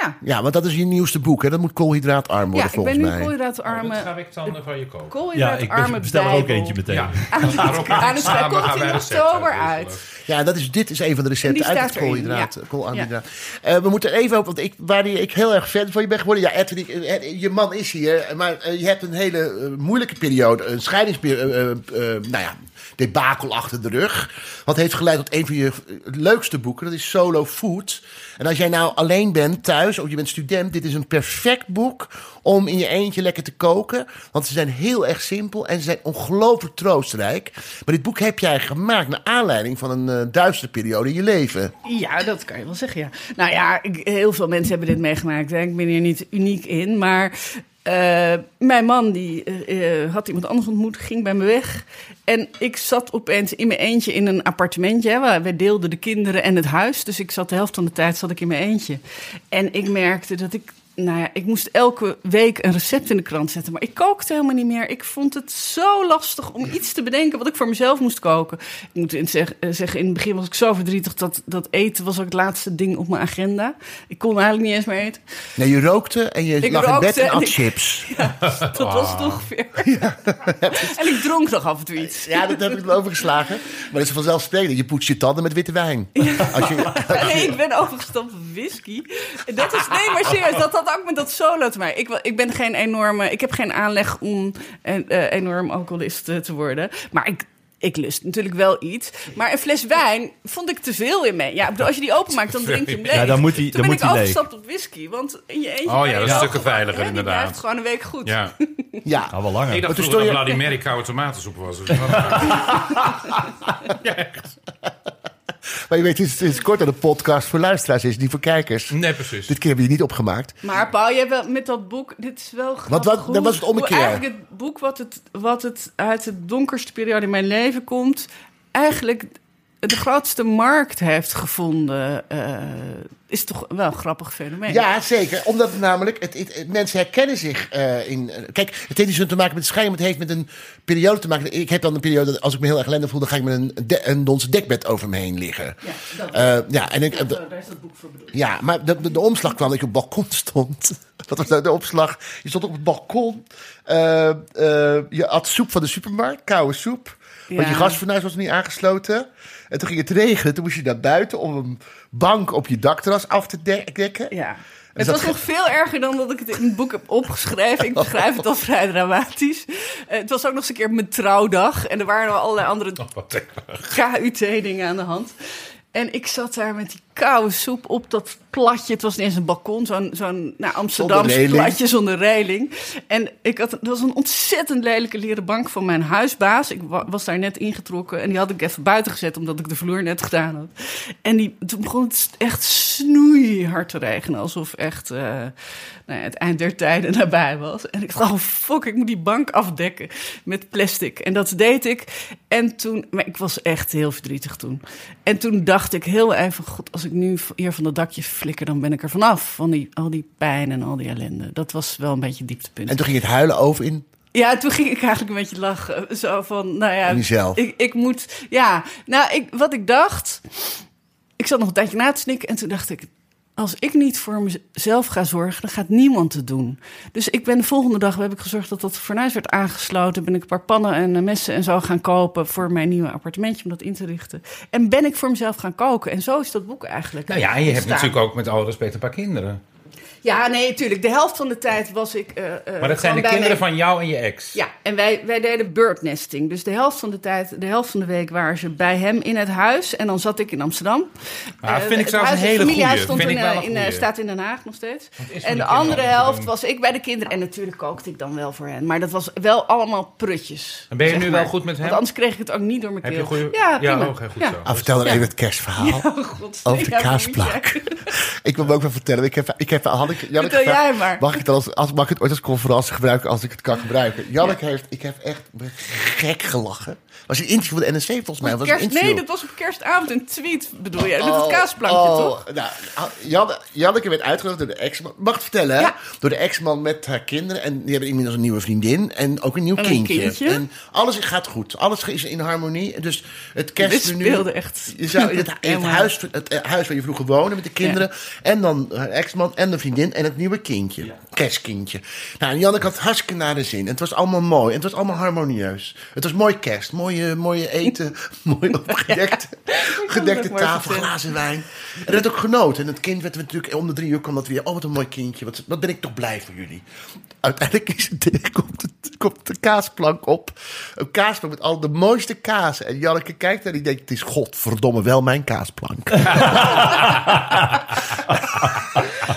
Ja, ja, want dat is je nieuwste boek. Hè? Dat moet koolhydraatarm worden ja ik volgens ben nu mij. Dat koolhydraatarme, ga ik dan van je koken. Ja, ik koolhydraatarme bes- bestel er ook Bijbel. eentje <laughs> meteen. Ja, Ja, dus daar komt in oktober uit. Ja, dat is, dit is een van de recepten Die uit staat het erin, koolhydraat. ja. koolhydraat. Eh, we moeten even op, want ik, waar ik heel erg fan van je ben geworden. Ja, Edwin, ik- eh, je man is hier. Maar eh, je hebt een hele eh, moeilijke periode. Een scheidingsperiode. nou ja, debakel achter de rug. Wat heeft geleid tot een van je eh, leukste boeken. Dat is Solo Food. En als jij nou alleen bent thuis of je bent student. Dit is een perfect boek om in je eentje lekker te koken. Want ze zijn heel erg simpel en ze zijn ongelooflijk troostrijk. Maar dit boek heb jij gemaakt naar aanleiding van een eh, duistere periode in je leven. Ja, dat kan je wel zeggen, ja. Nou ja, ik- heel veel mensen hebben dit meegemaakt. Hè. Ik ben hier niet uniek in, maar... eh, mijn man die, eh, eh, had iemand anders ontmoet, ging bij me weg. En ik zat opeens in mijn eentje in een appartementje. Hè, waar wij deelden de kinderen en het huis. Dus ik zat de helft van de tijd zat ik in mijn eentje. En ik merkte dat ik... Nou ja, ik moest elke week een recept in de krant zetten. Maar ik kookte helemaal niet meer. Ik vond het zo lastig om iets te bedenken wat ik voor mezelf moest koken. Ik moet in zeg- eh, zeggen, in het begin was ik zo verdrietig dat, dat eten was ook het laatste ding op mijn agenda. Ik kon eigenlijk niet eens meer eten. Nee, je rookte en je Ik lag in rookte bed en en at ik- <laughs> chips. Dat was het ongeveer. en ik dronk nog af en toe iets. Ja, dat heb ik overgeslagen. Maar dat is vanzelfsprekend. Je poetst je tanden met witte wijn. Als je, Nee, ik ben overgestapt op whisky. Dat is, nee, maar serieus, dat had ook met dat solo te maken. Ik, wa- ik ben geen enorme, ik heb geen aanleg om en, eh, enorm alcoholist eh, te worden. Maar ik, ik lust natuurlijk wel iets. Maar een fles wijn vond ik te veel in mee. Ja, ik bedoel, als je die openmaakt, dan drink je hem leeg. Ja, dan moet die- dan Toen ben moet ik die leeg. overgestapt op whisky, want in je eentje... Oh ja, kan je dat is wel stukken gewoon- veiliger, hè, die inderdaad. blijft gewoon een week <laughs> goed. Ja. ja. Nou, wel langer. Ik dacht toen vroeger dat stond Bloody Mary koude tomatensoep was. Dus wat dan ook. Maar je weet, het is, het is kort dat een podcast voor luisteraars is, niet voor kijkers. nee, <laughs> precies. Dit keer hebben jullie niet opgemaakt. Maar Paul, jij hebt wel met dat boek, dit is wel grappig. wat- hoe- dat was het ommekeer. hoe Eigenlijk het boek wat het, wat het uit de donkerste periode in mijn leven komt, eigenlijk de grootste markt heeft gevonden, eh, is toch wel een grappig fenomeen. Ja, zeker. Omdat het namelijk, het, het- het- mensen herkennen zich eh, in... eh, Kijk, het heeft niet zo te maken met scheiden, maar het heeft met een periode te maken. Ik heb dan een periode, dat als ik me heel erg ellendig voel, dan ga ik met een, de, een donse dekbed over me heen liggen. Ja, dat- Eh, ja, en ik, dat- daar is dat boek voor bedoeld. Ja, maar de, de, de omslag kwam dat je op het balkon stond. <laughs> Dat was nou de omslag. Je stond op het balkon. Eh, eh, je at soep van de supermarkt, koude soep. Want Ja. je gasfornuis was nog niet aangesloten. En toen ging het regenen. Toen moest je naar buiten om een bank op je dakterras af te dek- dekken. Ja. Dus dat Het was ge- nog veel erger dan dat ik het in het boek heb opgeschreven. Ik beschrijf het al vrij dramatisch. Eh, het was ook nog eens een keer mijn trouwdag. En er waren nog allerlei andere Oh, Wat denk ik. KUT-dingen aan de hand. En ik zat daar met die koude soep op dat platje. Het was niet eens een balkon, zo'n zo'n nou, Amsterdams Zonder reling. platje zonder reling. En ik had, dat was een ontzettend lelijke leren bank van mijn huisbaas. Ik wa- was daar net ingetrokken en die had ik even buiten gezet... omdat ik de vloer net gedaan had. En die, toen begon het echt snoeihard te regenen. Alsof echt eh, nou ja, het eind der tijden nabij was. En ik dacht, oh fuck, ik moet die bank afdekken met plastic. En dat deed ik. En toen, maar ik was echt heel verdrietig toen. En toen dacht ik heel even, god, als ik nu hier van dat dakje flikker... dan ben ik er vanaf, van die, al die pijn en al die ellende. Dat was wel een beetje het dieptepunt. En toen ging het huilen over in. Ja, toen ging ik eigenlijk een beetje lachen. Zo van, nou ja. Om jezelf. Ik, ik moet, ja. Nou, ik, wat ik dacht. Ik zat nog een tijdje na te snikken. En toen dacht ik. Als ik niet voor mezelf ga zorgen, dan gaat niemand het doen. Dus ik ben de volgende dag heb ik gezorgd dat dat fornuis werd aangesloten. Ben ik een paar pannen en eh, messen en zo gaan kopen voor mijn nieuwe appartementje om dat in te richten. En ben ik voor mezelf gaan koken. En zo is dat boek eigenlijk. Nou ja, en je hebt ontstaan. natuurlijk ook met alle respect een paar kinderen. Ja, nee, tuurlijk. De helft van de tijd was ik. eh, eh, Maar dat gewoon zijn de bij kinderen mijn- van jou en je ex. Ja, en wij, wij deden birdnesting. Dus de helft van de tijd, de helft van de week waren ze bij hem in het huis. En dan zat ik in Amsterdam. Maar Eh, vind ik het trouwens een huis- hele Het familiehuis goede. stond Vind ik in, eh, wel een in, eh, goeie. staat in Den Haag nog steeds. is van En die de andere kinderen helft gewoon- was ik bij de kinderen. En natuurlijk kookte ik dan wel voor hen. Maar dat was wel allemaal prutjes. En ben je zeg nu wel maar. goed met hem? Want anders kreeg ik het ook niet door mijn Heb keel. je goede... Ja, prima. oh, oké, goed Ja. zo. Ah, vertel dan Ja. even het kerstverhaal. Oh, god. Over de Ja, dat moet je. kaasplaat. <laughs> Ik wil me ook wel vertellen. Ik heb, ik heb, had ik, Janneke Vertel gevraagd, jij maar. Mag ik, dan als, als, mag ik het ooit als conferentie gebruiken als ik het kan gebruiken? Janneke heeft, ik heb echt me gek gelachen. Was een interview met de NRC volgens mij? of Was het Kerst, een nee, interview? dat was op kerstavond een tweet, bedoel je? Met het Oh, kaasplankje, oh, toch? Nou, Jan- Janneke werd uitgenodigd door de ex-man. Mag ik het vertellen? hè? Ja. Door de ex-man met haar kinderen. En die hebben inmiddels een nieuwe vriendin. En ook een nieuw En een kindje. kindje. En alles gaat goed. Alles is in harmonie. Dus het kerstmenu... Dit speelde echt. Je zou in het, in het, <laughs> Helemaal. huis, het eh, huis waar je vroeger woonde met de kinderen. En dan haar ex-man en de vriendin en het nieuwe kindje. Kerstkindje. Nou, en Janneke had hartstikke naar de zin. En het was allemaal mooi. En het was allemaal harmonieus. Het was mooi kerst. Mooie, mooie eten. <laughs> mooi opgedekt. Gedekte ook mooi tafel, vertellen. glazen wijn. En dat werd ook genoten. En het kind werd natuurlijk om de drie uur kwam dat weer. Oh, wat een mooi kindje. Wat, wat ben ik toch blij voor jullie. Uiteindelijk is het, <laughs> komt, het, komt de kaasplank op. Een kaasplank met al de mooiste kaas. En Janneke kijkt en die denkt, het is godverdomme wel mijn kaasplank.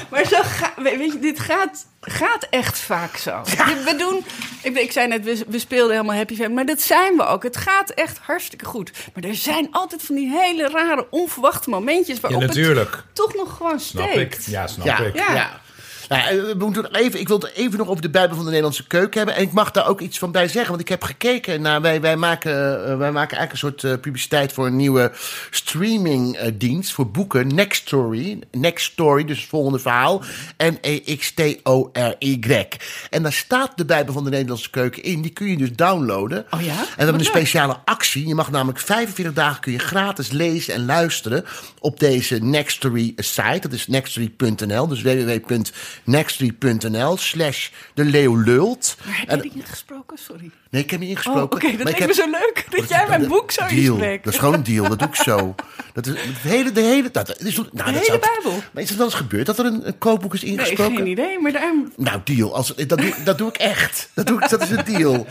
Maar zo ga- we- weet je, dit gaat, gaat echt vaak zo. Je- We doen, ik, ik zei net, we, we speelden helemaal happy family, maar dat zijn we ook. Het gaat echt hartstikke goed. Maar er zijn altijd van die hele rare, onverwachte momentjes waarop natuurlijk. het toch nog gewoon Snap ik. steekt. Ja, snap Ja, ik. ja. Nou, eh, we moeten nog even, ik wil het even nog over de Bijbel van de Nederlandse keuken hebben. En ik mag daar ook iets van bij zeggen. Want ik heb gekeken naar. Wij, wij, maken, eh, wij maken eigenlijk een soort eh, publiciteit voor een nieuwe streamingdienst. Voor boeken. Next Story. Next Story, dus het volgende verhaal. E N-E-X-T-O-R-Y. En daar staat de Bijbel van de Nederlandse keuken in. Die kun je dus downloaden. Oh ja? En we hebben een Wat leuk. speciale actie. Je mag namelijk 45 dagen kun je gratis lezen en luisteren op deze Nextory site. Dat is nextory.nl. Dus www.nextory.nl slash de leeuw lult. Maar heb En- je die ingesproken? Sorry. nee, ik heb niet Oh, ingesproken. oké, dat maar ik leek me heb- zo leuk. <laughs> Dat jij mijn boek zo deal. inspreekt. Dat is gewoon een deal, dat doe ik zo. Dat is het hele, de hele, dat, is, nou, dat hele zou- Bijbel. Maar is het wel eens gebeurd dat er een, een kookboek is Nee, ingesproken? geen idee, maar daarom... Nou, deal. Als, dat, doe, dat doe ik echt. Dat, doe ik, dat is een deal.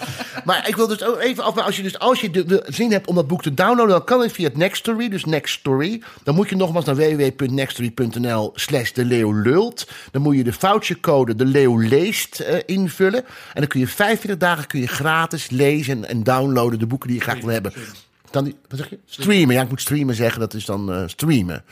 Maar ik wil dus ook even af. maar Als je, dus, als je de, de zin hebt om dat boek te downloaden, dan kan het via het Nextory. Dus Nextory. Dan moet je nogmaals naar www.nextory.nl slash de leeuw lult. Dan moet je de vouchercode de leeuw leest eh, invullen. En dan kun je 45 dagen kun je gratis lezen en, en downloaden de boeken die je graag wil hebben. Dan, die- wat zeg je? Streamen. Ja, ik moet streamen zeggen. Dat is dan eh, streamen.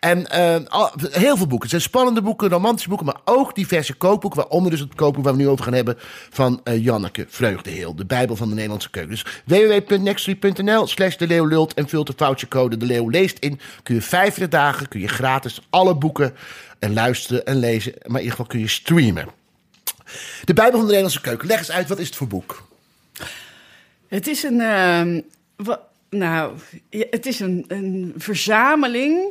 En eh, al- heel veel boeken. Het zijn spannende boeken, romantische boeken, maar ook diverse kookboeken. Waaronder dus het kookboek waar we nu over gaan hebben van eh, Janneke Vreugdeheel. De Bijbel van de Nederlandse keuken. Dus www.nextory.nl slash de leeuw lult en vult de foutjecode de leeuw leest in. Kun je 45 dagen, kun je gratis alle boeken en luisteren en lezen. Maar in ieder geval kun je streamen. De Bijbel van de Nederlandse keuken. Leg eens uit, wat is het voor boek? Het is een. ehm, wa- nou, ja, het is een, een verzameling.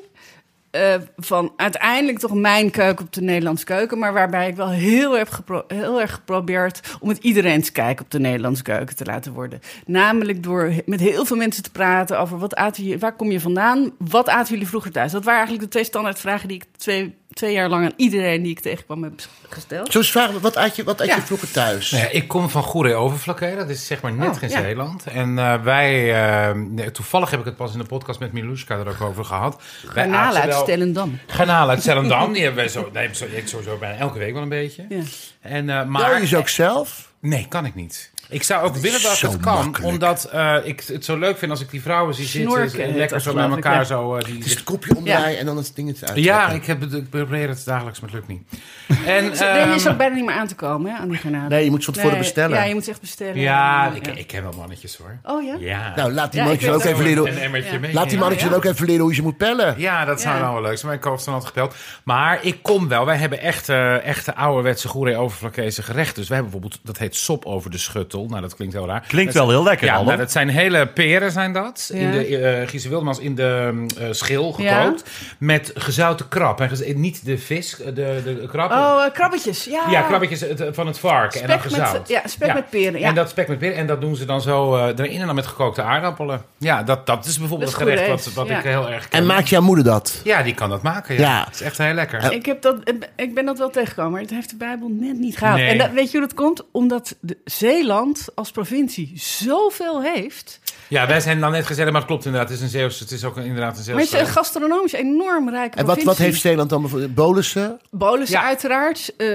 eh, van uiteindelijk toch mijn keuken op de Nederlandse keuken. Maar waarbij ik wel heel erg, gepro- heel erg geprobeerd om het iedereen's kijk op de Nederlandse keuken te laten worden. Namelijk door he- met heel veel mensen te praten over wat aten je, waar kom je vandaan? Wat aten jullie vroeger thuis? Dat waren eigenlijk de twee standaardvragen die ik twee, twee jaar lang aan iedereen die ik tegenkwam heb gesteld. Zo eens vragen, wat had je, wat had Ja. je vroeger thuis? Nou ja, ik kom van Goeree Overflakkee, dat is zeg maar net Oh, in ja. Zeeland. En eh, wij, eh, nee, toevallig heb ik het pas in de podcast met Milushka er ook over gehad. Wij Garnalen aten uit wel- Stellendam. Garnalen <laughs> uit Stellendam, die hebben wij zo, nee, zo, ik sowieso bijna elke week wel een beetje. Ja. En, eh, maar, Maar je ze ook zelf? Nee, kan ik niet. Ik zou ook willen dat zo het kan, makkelijk. omdat eh, ik het zo leuk vind als ik die vrouwen zie zitten Snorken en heet lekker dat, zo bij geloof ik, elkaar ja. zo... eh, die, Het is het kopje omdraaien en dan het ding uit. ja, ik, heb, het- ik probeer het dagelijks, maar het lukt <laughs> niet. En, Dan is ehm, ook bijna niet meer aan te komen hè, aan die garnalen. Nee, je moet ze van tevoren Nee, bestellen. Ja, je moet echt bestellen. ja, ik, ik ken wel mannetjes hoor. Oh ja? Ja. Nou, laat die Ja, mannetjes ik ook weet even het leren. Een emmertje mee. Laat die Ja. mannetjes ook even leren hoe je moet pellen. Ja, dat zou Ja. nou wel leuk zijn. Mijn koop dan altijd gepeld. Maar ik kom eh, wel. Wij hebben echte, echte ouderwetse goeree overvlakkeze gerechten. Dus wij hebben bijvoorbeeld, dat heet sop over de schuttel. Nestel. Nou, dat klinkt heel raar. Klinkt Dat wel heel lekker, ja, Aldo. nou, dat zijn hele peren zijn dat. Ja. In de, eh Giese Wildemans in de eh, schil Ja. gekookt. Met gezouten krab. En gez- niet de vis, eh, de, de krab. Oh, eh, krabbetjes. Ja, Ja, krabbetjes het, eh, van het varken en dan Spek gezout. met, ja, spek met peren. Ja. En dat spek met peren. En dat doen ze dan zo eh, erin en dan met gekookte aardappelen. Ja, dat, dat is bijvoorbeeld Dat het is goed gerecht wat, eten, wat ja. ik heel erg ken. En maakt jouw moeder dat? Ja, die kan dat maken. Ja. Ja. Het is echt heel lekker. Ik, heb dat, ik ben dat wel tegengekomen, maar het heeft de Bijbel net niet gehaald. Nee. En dat, weet je hoe dat komt? Omdat de Zeeland als provincie zoveel heeft. Ja, wij zijn dan net gezellig, maar het klopt inderdaad. Het is, een Zeeuws, het is ook een- inderdaad een Maar het Zeeuws. is een gastronomisch enorm rijke En wat, provincie. wat heeft Zeeland dan bijvoorbeeld? Bolussen? Bolus Ja. uiteraard, eh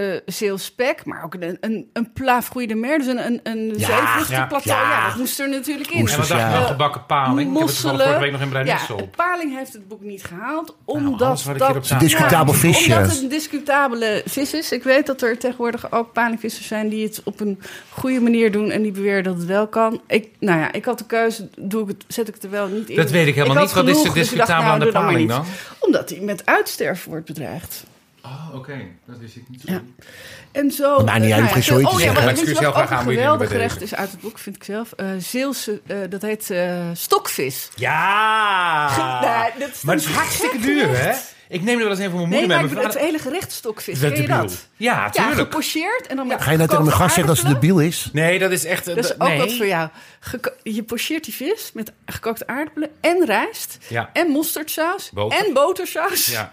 zeelspek, maar ook een, een, een plaaf goede meer. Dus een, een, een Ja, zeevruchtenplateau. ja, Ja, ja. dat moest er natuurlijk in. Moest En wat dacht je sociaal. van gebakken paling? Ik heb het toevallig mosselen. vorige week nog in Bruinissel. ja, op. Paling heeft het boek niet gehaald, Nou, alles omdat wat ik hierop dat... sta- Discutabel visje. Omdat het een discutabele vis is. Ik weet dat er tegenwoordig ook palingvissers zijn die het op een goede manier doen en die beweren dat het wel kan. Ik, nou ja, ik had de keuze, doe ik het, zet ik het er wel niet in. Dat weet ik helemaal had niet. Wat is er genoeg, dus ik dacht, discutabel nou, aan de doe dat maar paling niet. dan? Omdat hij met uitsterven wordt bedreigd. Oh, oké. Dat wist ik niet. Ja. En zo. Maar niet, eh, jij hoeft geen zoiets oh, te ja, zeggen. maar Ja, weet excuus, je wat heel graag ook een aan moet je nu geweldig bij deze. gerecht is uit het boek, vind ik zelf. Eh, Zeelse, eh, dat heet eh, stokvis. Ja! Nee, nou dat is Ah. maar een het is hartstikke gek duur, hè? gerecht. Ik neem er wel eens een van mijn Nee, moeder maar mee. ik Mijn bedoel, het vader- hele gerecht stokvis. Dat Ken je debiel. dat? Ja, Ja, tuurlijk. gepocheerd en dan met Ga je nou tegen mijn gekookte gast zeggen dat ze aardappelen? debiel is? Nee, dat is echt... Dat is ook nee. wat voor jou. Geko- je pocheert die vis met gekookte aardapelen en rijst Ja. en mosterdsaus Boter. en botersaus Ja. <laughs>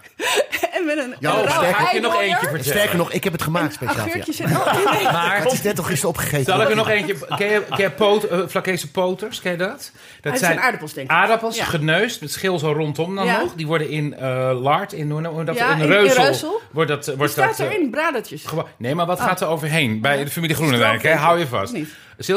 en met een Ja, Oh, sterker- een rauw Heb je nog eiweier, eentje vertellen? Sterker nog, ik heb het gemaakt speciaal voor jou. Augurkjes <laughs> en... Oh, nee. Maar Het is net al gisteren opgegeten. Zal ik er nog eentje... Ken je, ken je poot, eh, Vlakkese poters? Ken je dat? Dat Het zijn aardappels, denk ik. Aardappels, Ja. geneusd, met schil zo rondom dan Ja. nog. Die worden in eh, Laard, in, hoe noem je dat? Ja, in, in- in Reuzel. Reuzel. Wordt dat, eh, wordt staat dat, eh, erin, bradertjes. gewa- Nee, maar wat gaat er overheen? Bij de familie Groenendijk, hè? Stroop. Hou je vast. Niet.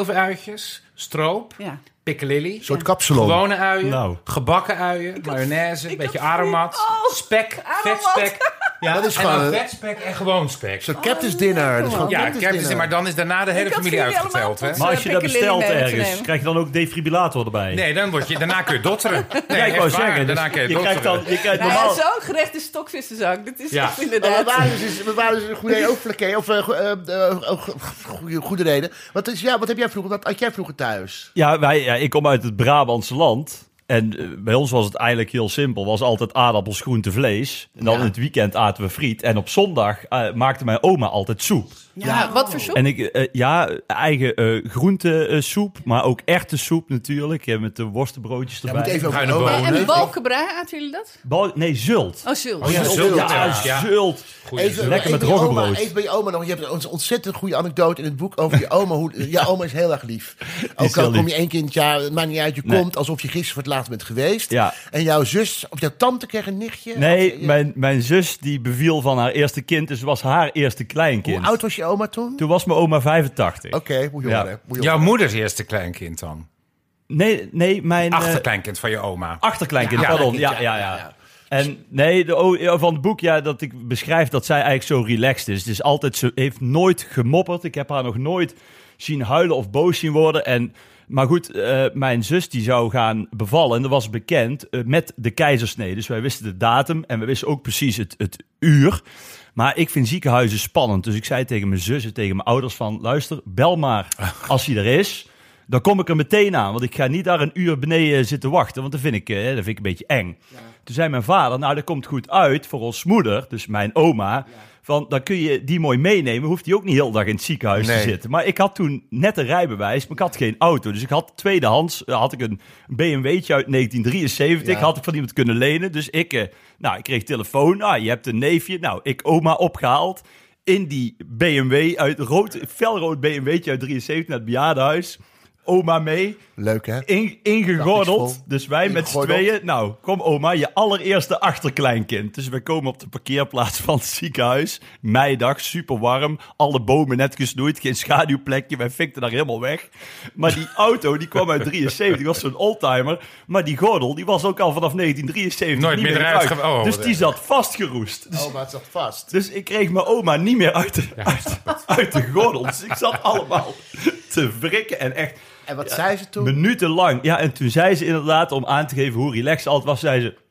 Zilveruitjes, stroop, Ja. piccalilli. Een soort kapsalon. Gewone uien, Nou. gebakken uien, mayonaise, een ik beetje had aromat, vriend- oh, spek, aromat. vetspek. Ja, Dat is en dan gewoon- vetspek en gewoon spek. Zo'n captain's dinner. Dat is gewoon Ja, captain's captain's, dinner. maar dan is daarna de hele had familie jullie allemaal uitgeteld, hè? tot- Maar als je dat Piccadilly bestelt mee te ergens, nemen. krijg je dan ook defibrillator erbij? Nee, dan word je, daarna kun je <laughs> dotteren. Nee, Ja, ik wou echt waar, zeggen, dus daarna kun je je dotteren. krijgt dan... Je krijgt Nou ja, normaal... zo'n gerecht is stokvis de zak. Dat is Ja. echt Oh, we inderdaad... waren dus, we waren dus een goede, ook flaké, of eh, go- eh, eh, oh, go- goede, goede reden. Wat, is, ja, wat heb jij vroeger, wat had jij vroeger thuis? Ja, wij, ja, ik kom uit het Brabantse land. En eh, bij ons was het eigenlijk heel simpel. Was altijd aardappels, groente, vlees. En dan Ja. in het weekend aten we friet. En op zondag eh, maakte mijn oma altijd soep. Ja, wat voor <laughs> soep? En ik, eh, ja, eigen eh groente eh, soep, maar ook echte soep natuurlijk. eh, met de worstenbroodjes Ja, erbij. moet even over Bruine oh, bonen. En nee. balkenbrei, aten jullie dat? Bal- nee, zult. Oh, zult. Oh ja, zult. Ja, Ja, ja. zult. Goeie Even, zin. Lekker even met je roggebrood. oma- Even bij je oma nog. Je hebt een ontzettend goede anekdote in het boek over je oma. Hoe, je oma is heel erg <laughs> lief. Ook heel al kom lief. je één keer in het jaar, het maakt niet uit. Je Nee. komt alsof je gisteren voor het laatst bent geweest. Ja. En jouw zus of jouw tante kreeg een nichtje. Of, Nee, eh, mijn, mijn zus die beviel van haar eerste kind, dus was haar eerste kleinkind. Hoe oud was je oma toen? Toen was mijn oma 85. Oké, hoe jong Ja. hè? Hoe jong. Jouw moeders eerste kleinkind dan? Nee, nee, mijn... eh, Ah. Achterkleinkind van je oma. Achterkleinkind, Ja, pardon. Ja, ja, achterkleinkind, ja. ja, ja, En nee, de, oh, ja, van het boek ja, dat ik beschrijf dat zij eigenlijk zo relaxed is. Dus altijd, ze heeft nooit gemopperd. Ik heb haar nog nooit zien huilen of boos zien worden. En, maar goed, eh, mijn zus die zou gaan bevallen. En dat was bekend eh, met de keizersnee. Dus wij wisten de datum en we wisten ook precies het, het uur. Maar ik vind ziekenhuizen spannend. Dus ik zei tegen mijn zus en tegen mijn ouders van... luister, bel maar als hij er is. Dan kom ik er meteen aan, want ik ga niet daar een uur beneden zitten wachten, want dat vind ik, eh, dat vind ik een beetje eng. Toen zei mijn vader, nou dat komt goed uit voor ons moeder, dus mijn oma, van dan kun je die mooi meenemen, hoeft die ook niet heel dag in het ziekenhuis Nee. te zitten. Maar ik had toen net een rijbewijs, maar ik had geen auto, dus ik had tweedehands, eh, had ik een BMW'tje uit 1973, Ja. had ik van iemand kunnen lenen, dus ik, eh, nou ik kreeg telefoon, ah je hebt een neefje, nou ik oma opgehaald. In die BMW, uit rood, felrood BMW'tje uit 73 naar het bejaardenhuis oma mee, Leuk hè? in, Dag is ingegordeld. vol. Dus wij met z'n Ingegordeld. tweeën, nou, kom oma, je allereerste achterkleinkind. Dus we komen op de parkeerplaats van het ziekenhuis. Meidag, super warm, alle bomen net gesnoeid, geen schaduwplekje, wij fikten daar helemaal weg. Maar die auto, die kwam uit 73, was zo'n oldtimer. Maar die gordel, die was ook al vanaf 1973 Nooit niet meer eruit gebruikt. ge- oh, dus wat die erg. zat vastgeroest. Dus Oh, maar het zat vast. dus ik kreeg mijn oma niet meer uit de, uit, uit de gordel. Dus ik zat allemaal te wrikken en echt En wat zei ze toen? minutenlang. Ja, en toen zei ze inderdaad, om aan te geven hoe relaxed ze altijd was, zei ze...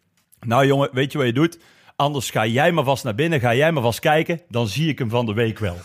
Nou jongen, weet je wat je doet? Anders ga jij maar vast naar binnen, ga jij maar vast kijken. Dan zie ik hem van de week wel.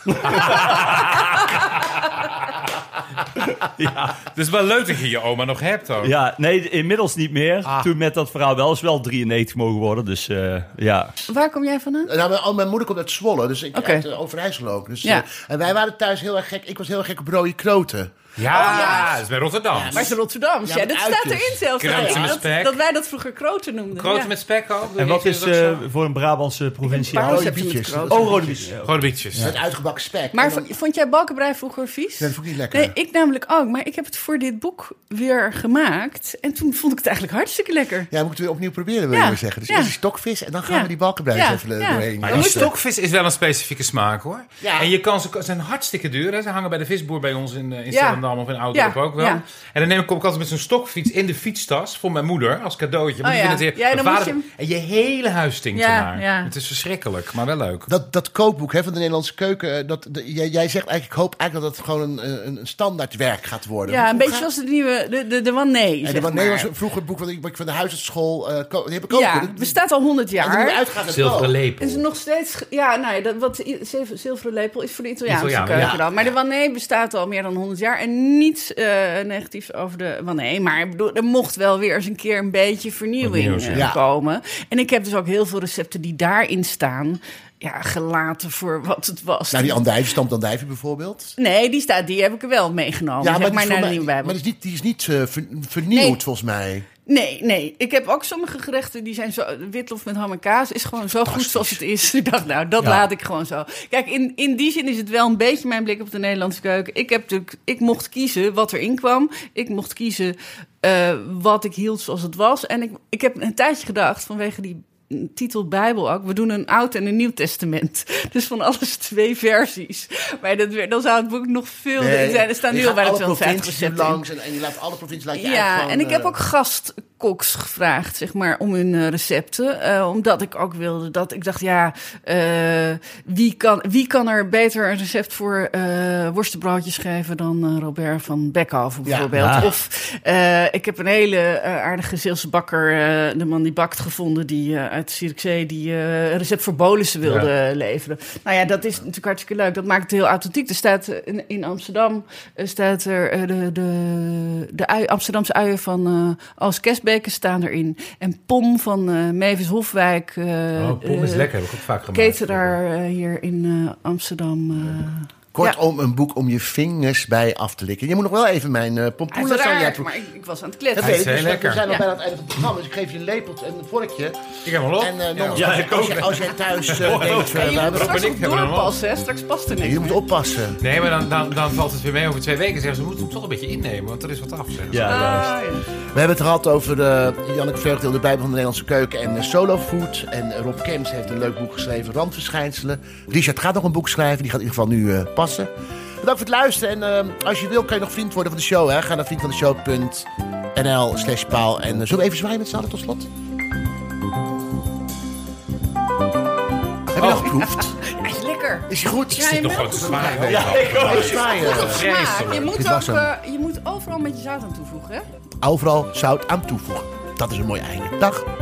Het is wel leuk dat je je oma nog hebt ook. Ja, nee, inmiddels niet meer. Toen met dat verhaal wel is wel 93 mogen worden. Dus eh, ja. Waar kom jij vandaan? Nou, mijn, oh, mijn moeder komt uit Zwolle, dus ik Oké. uit eh, Overijssel ook. Dus, Ja. eh, en wij waren thuis heel erg gek. Ik was heel erg gek op rode kroten. Ja, Oh, dat is bij Rotterdam. Maar het is Rotterdam. Ja, Ja, dat maar dus. staat uitjes. erin zelfs. Kroten Ja, met dat, spek. dat wij dat vroeger kroten noemden. Grote ja. met spek ook. En wat is eh eh, voor een Brabantse provincie? Paus Rode heb je met bietjes. kroten. Dat Oh, zijn rode bietjes. bietjes. Gewoon bietjes. Met uitgebakken spek. Maar En dan- v- vond jij balkenbrij vroeger vies? Nee, dat vond ik niet lekker. Nee, ik namelijk ook. Maar ik heb het voor dit boek weer gemaakt. En toen vond ik het eigenlijk hartstikke lekker. Ja, we moeten het weer opnieuw proberen, wil Ja, je maar zeggen. Dus ja. eerst die stokvis en dan gaan Ja. we die balkenbruis Ja, even er ja. doorheen. Maar Ja. die stokvis is wel een specifieke smaak hoor. Ja. En je kan, ze ze zijn hartstikke duur. Hè. Ze hangen bij de visboer bij ons in, eh, in Ja. Stellendam of in Oudorp Ja, ook wel. ja. En dan neem ik, kom ik altijd met zo'n stokfiets in de fietstas voor mijn moeder als cadeautje. Want Oh ik ja. vind het weer- Ja, en dan mijn moet vader- En je hem- je hele huis stinkt Ja, ernaar. ja. Het is verschrikkelijk, maar wel leuk. Dat, dat kookboek hè, van de Nederlandse keuken, eh, dat, de- jij, jij zegt eigenlijk, ik hoop eigenlijk dat het gewoon een, eh, een, een standaardwerk gaat worden. Ja, Want een hoe beetje gaat- als de nieuwe, de, de, de Wannees. En zeg de Wanneer maar. was vroeger het boek wat ik, wat ik van de huisartschool eh ko- die heb ik ook. Ja, hoor. Dat- bestaat al 100 dat er nu jaar. uitgaat uit Zilveren kook. lepel. En ze nog steeds, ge- ja, nou ja, dat, wat i- zev- zilveren lepel is voor de Italiaanse Italianen, keuken ja. dan. Maar de Wannees bestaat al meer dan 100 jaar. En niets eh, negatiefs over de Wannees. Maar ik bedoel, er mocht wel weer eens een keer een beetje vernieuwing Wat nieuws, eh, ja. komen. En ik heb dus ook heel veel recepten die daarin staan, ja, gelaten voor wat het was. Dus Nou, die andijvie, stamp andijvie bijvoorbeeld. Nee, die, staat, die heb ik er wel meegenomen. zeg maar, die is naar de voor mij- nieuwe maar Bijbel. die is niet, die is niet eh, ver- vernieuwd Nee. volgens mij. Nee, nee. Ik heb ook sommige gerechten die zijn zo. Witlof met ham en kaas is gewoon zo goed zoals het is. <laughs> Ik dacht, nou, dat laat ik gewoon zo. Kijk, in, in die zin is het wel een beetje mijn blik op de Nederlandse keuken. Ik, heb natuurlijk, ik mocht kiezen wat erin kwam. Ik mocht kiezen eh, wat ik hield zoals het was. En ik, ik heb een tijdje gedacht vanwege die. mm, Titel Bijbel ook. We doen een Oud en een Nieuw Testament. <laughs> Dus van alles twee versies. Maar dat, weer- dan zou het boek nog veel. Nee. zijn. Er staan Je nu al gaat bij de alle 250 provincies nu recepten. in. langs en, en je laat alle provincies laat je Ja, uit gewoon, en ik heb eh, ook gastkoks gevraagd, zeg maar, om hun eh, recepten. Eh, omdat ik ook wilde dat ik dacht, ja, eh, wie, kan, wie kan er beter een recept voor eh worstenbroodjes geven dan eh, Robert van Beckhoven bijvoorbeeld? Ah. Of eh, ik heb een hele eh, aardige Zeelse bakker, eh, de man die bakt, gevonden die eh, uit Zierikzee, die eh, een recept voor bolussen wilde leveren. Nou ja, dat is natuurlijk hartstikke leuk. Dat maakt het heel authentiek. Er staat eh, in, in Amsterdam eh, staat er eh, de, de, de ui- Amsterdamse uien van eh Als Kesbeke staan erin. En Pom van eh Mevis Hofwijk. eh Oh, poem is eh, lekker, heb ik ook vaak gemaakt. Cateraar eh, hier in eh, Amsterdam. eh, Kortom, een boek om je vingers bij af te likken. Je moet nog wel even mijn eh, pompoenen uiteraard, aan jij maar ik, ik was aan het Dat kletsen. Hij weet is ik, heel dus we- lekker. we zijn al Ja. bijna aan het einde van het programma. Dus ik geef je een lepeltje en een vorkje. Ik heb hem al op. En eh, nogmaals, Ja. als, je- als, je, als jij thuis eh, denkt... eh, En je nou, moet dat- straks ben ik ook helemaal. doorpassen, hè? straks past er niks je meer. moet oppassen. Nee, maar dan, dan, dan valt het weer mee over twee weken. Zeggen ze, we moeten hem toch een beetje innemen, want er is wat af. zeggen ze. Ja, juist. Ah, ja. We hebben het gehad over de Janneke Vreugdeel, de Bijbel van de Nederlandse keuken en eh, solo food. En eh, Rob Kems heeft een leuk boek geschreven, Randverschijnselen. Richard gaat nog een boek schrijven, die gaat in ieder geval nu eh, passen. Bedankt voor het luisteren en eh, als je wil kan je nog vriend worden van de show. Hè? Ga naar vriendvandeshow.nl slash paal. En eh, zullen we even zwaaien met z'n allen tot slot? Heb je dat geproefd? Hij is lekker. Is hij goed? Ja, je Nog gewoon melk te is zwaaien. ook al. Even zwaaien. smaak. Je Vreselijk. Dit moet, ook, was hem. eh, je moet overal met je zout aan toevoegen, hè? Overal zout aan toevoegen. Dat is een mooi einde. Dag.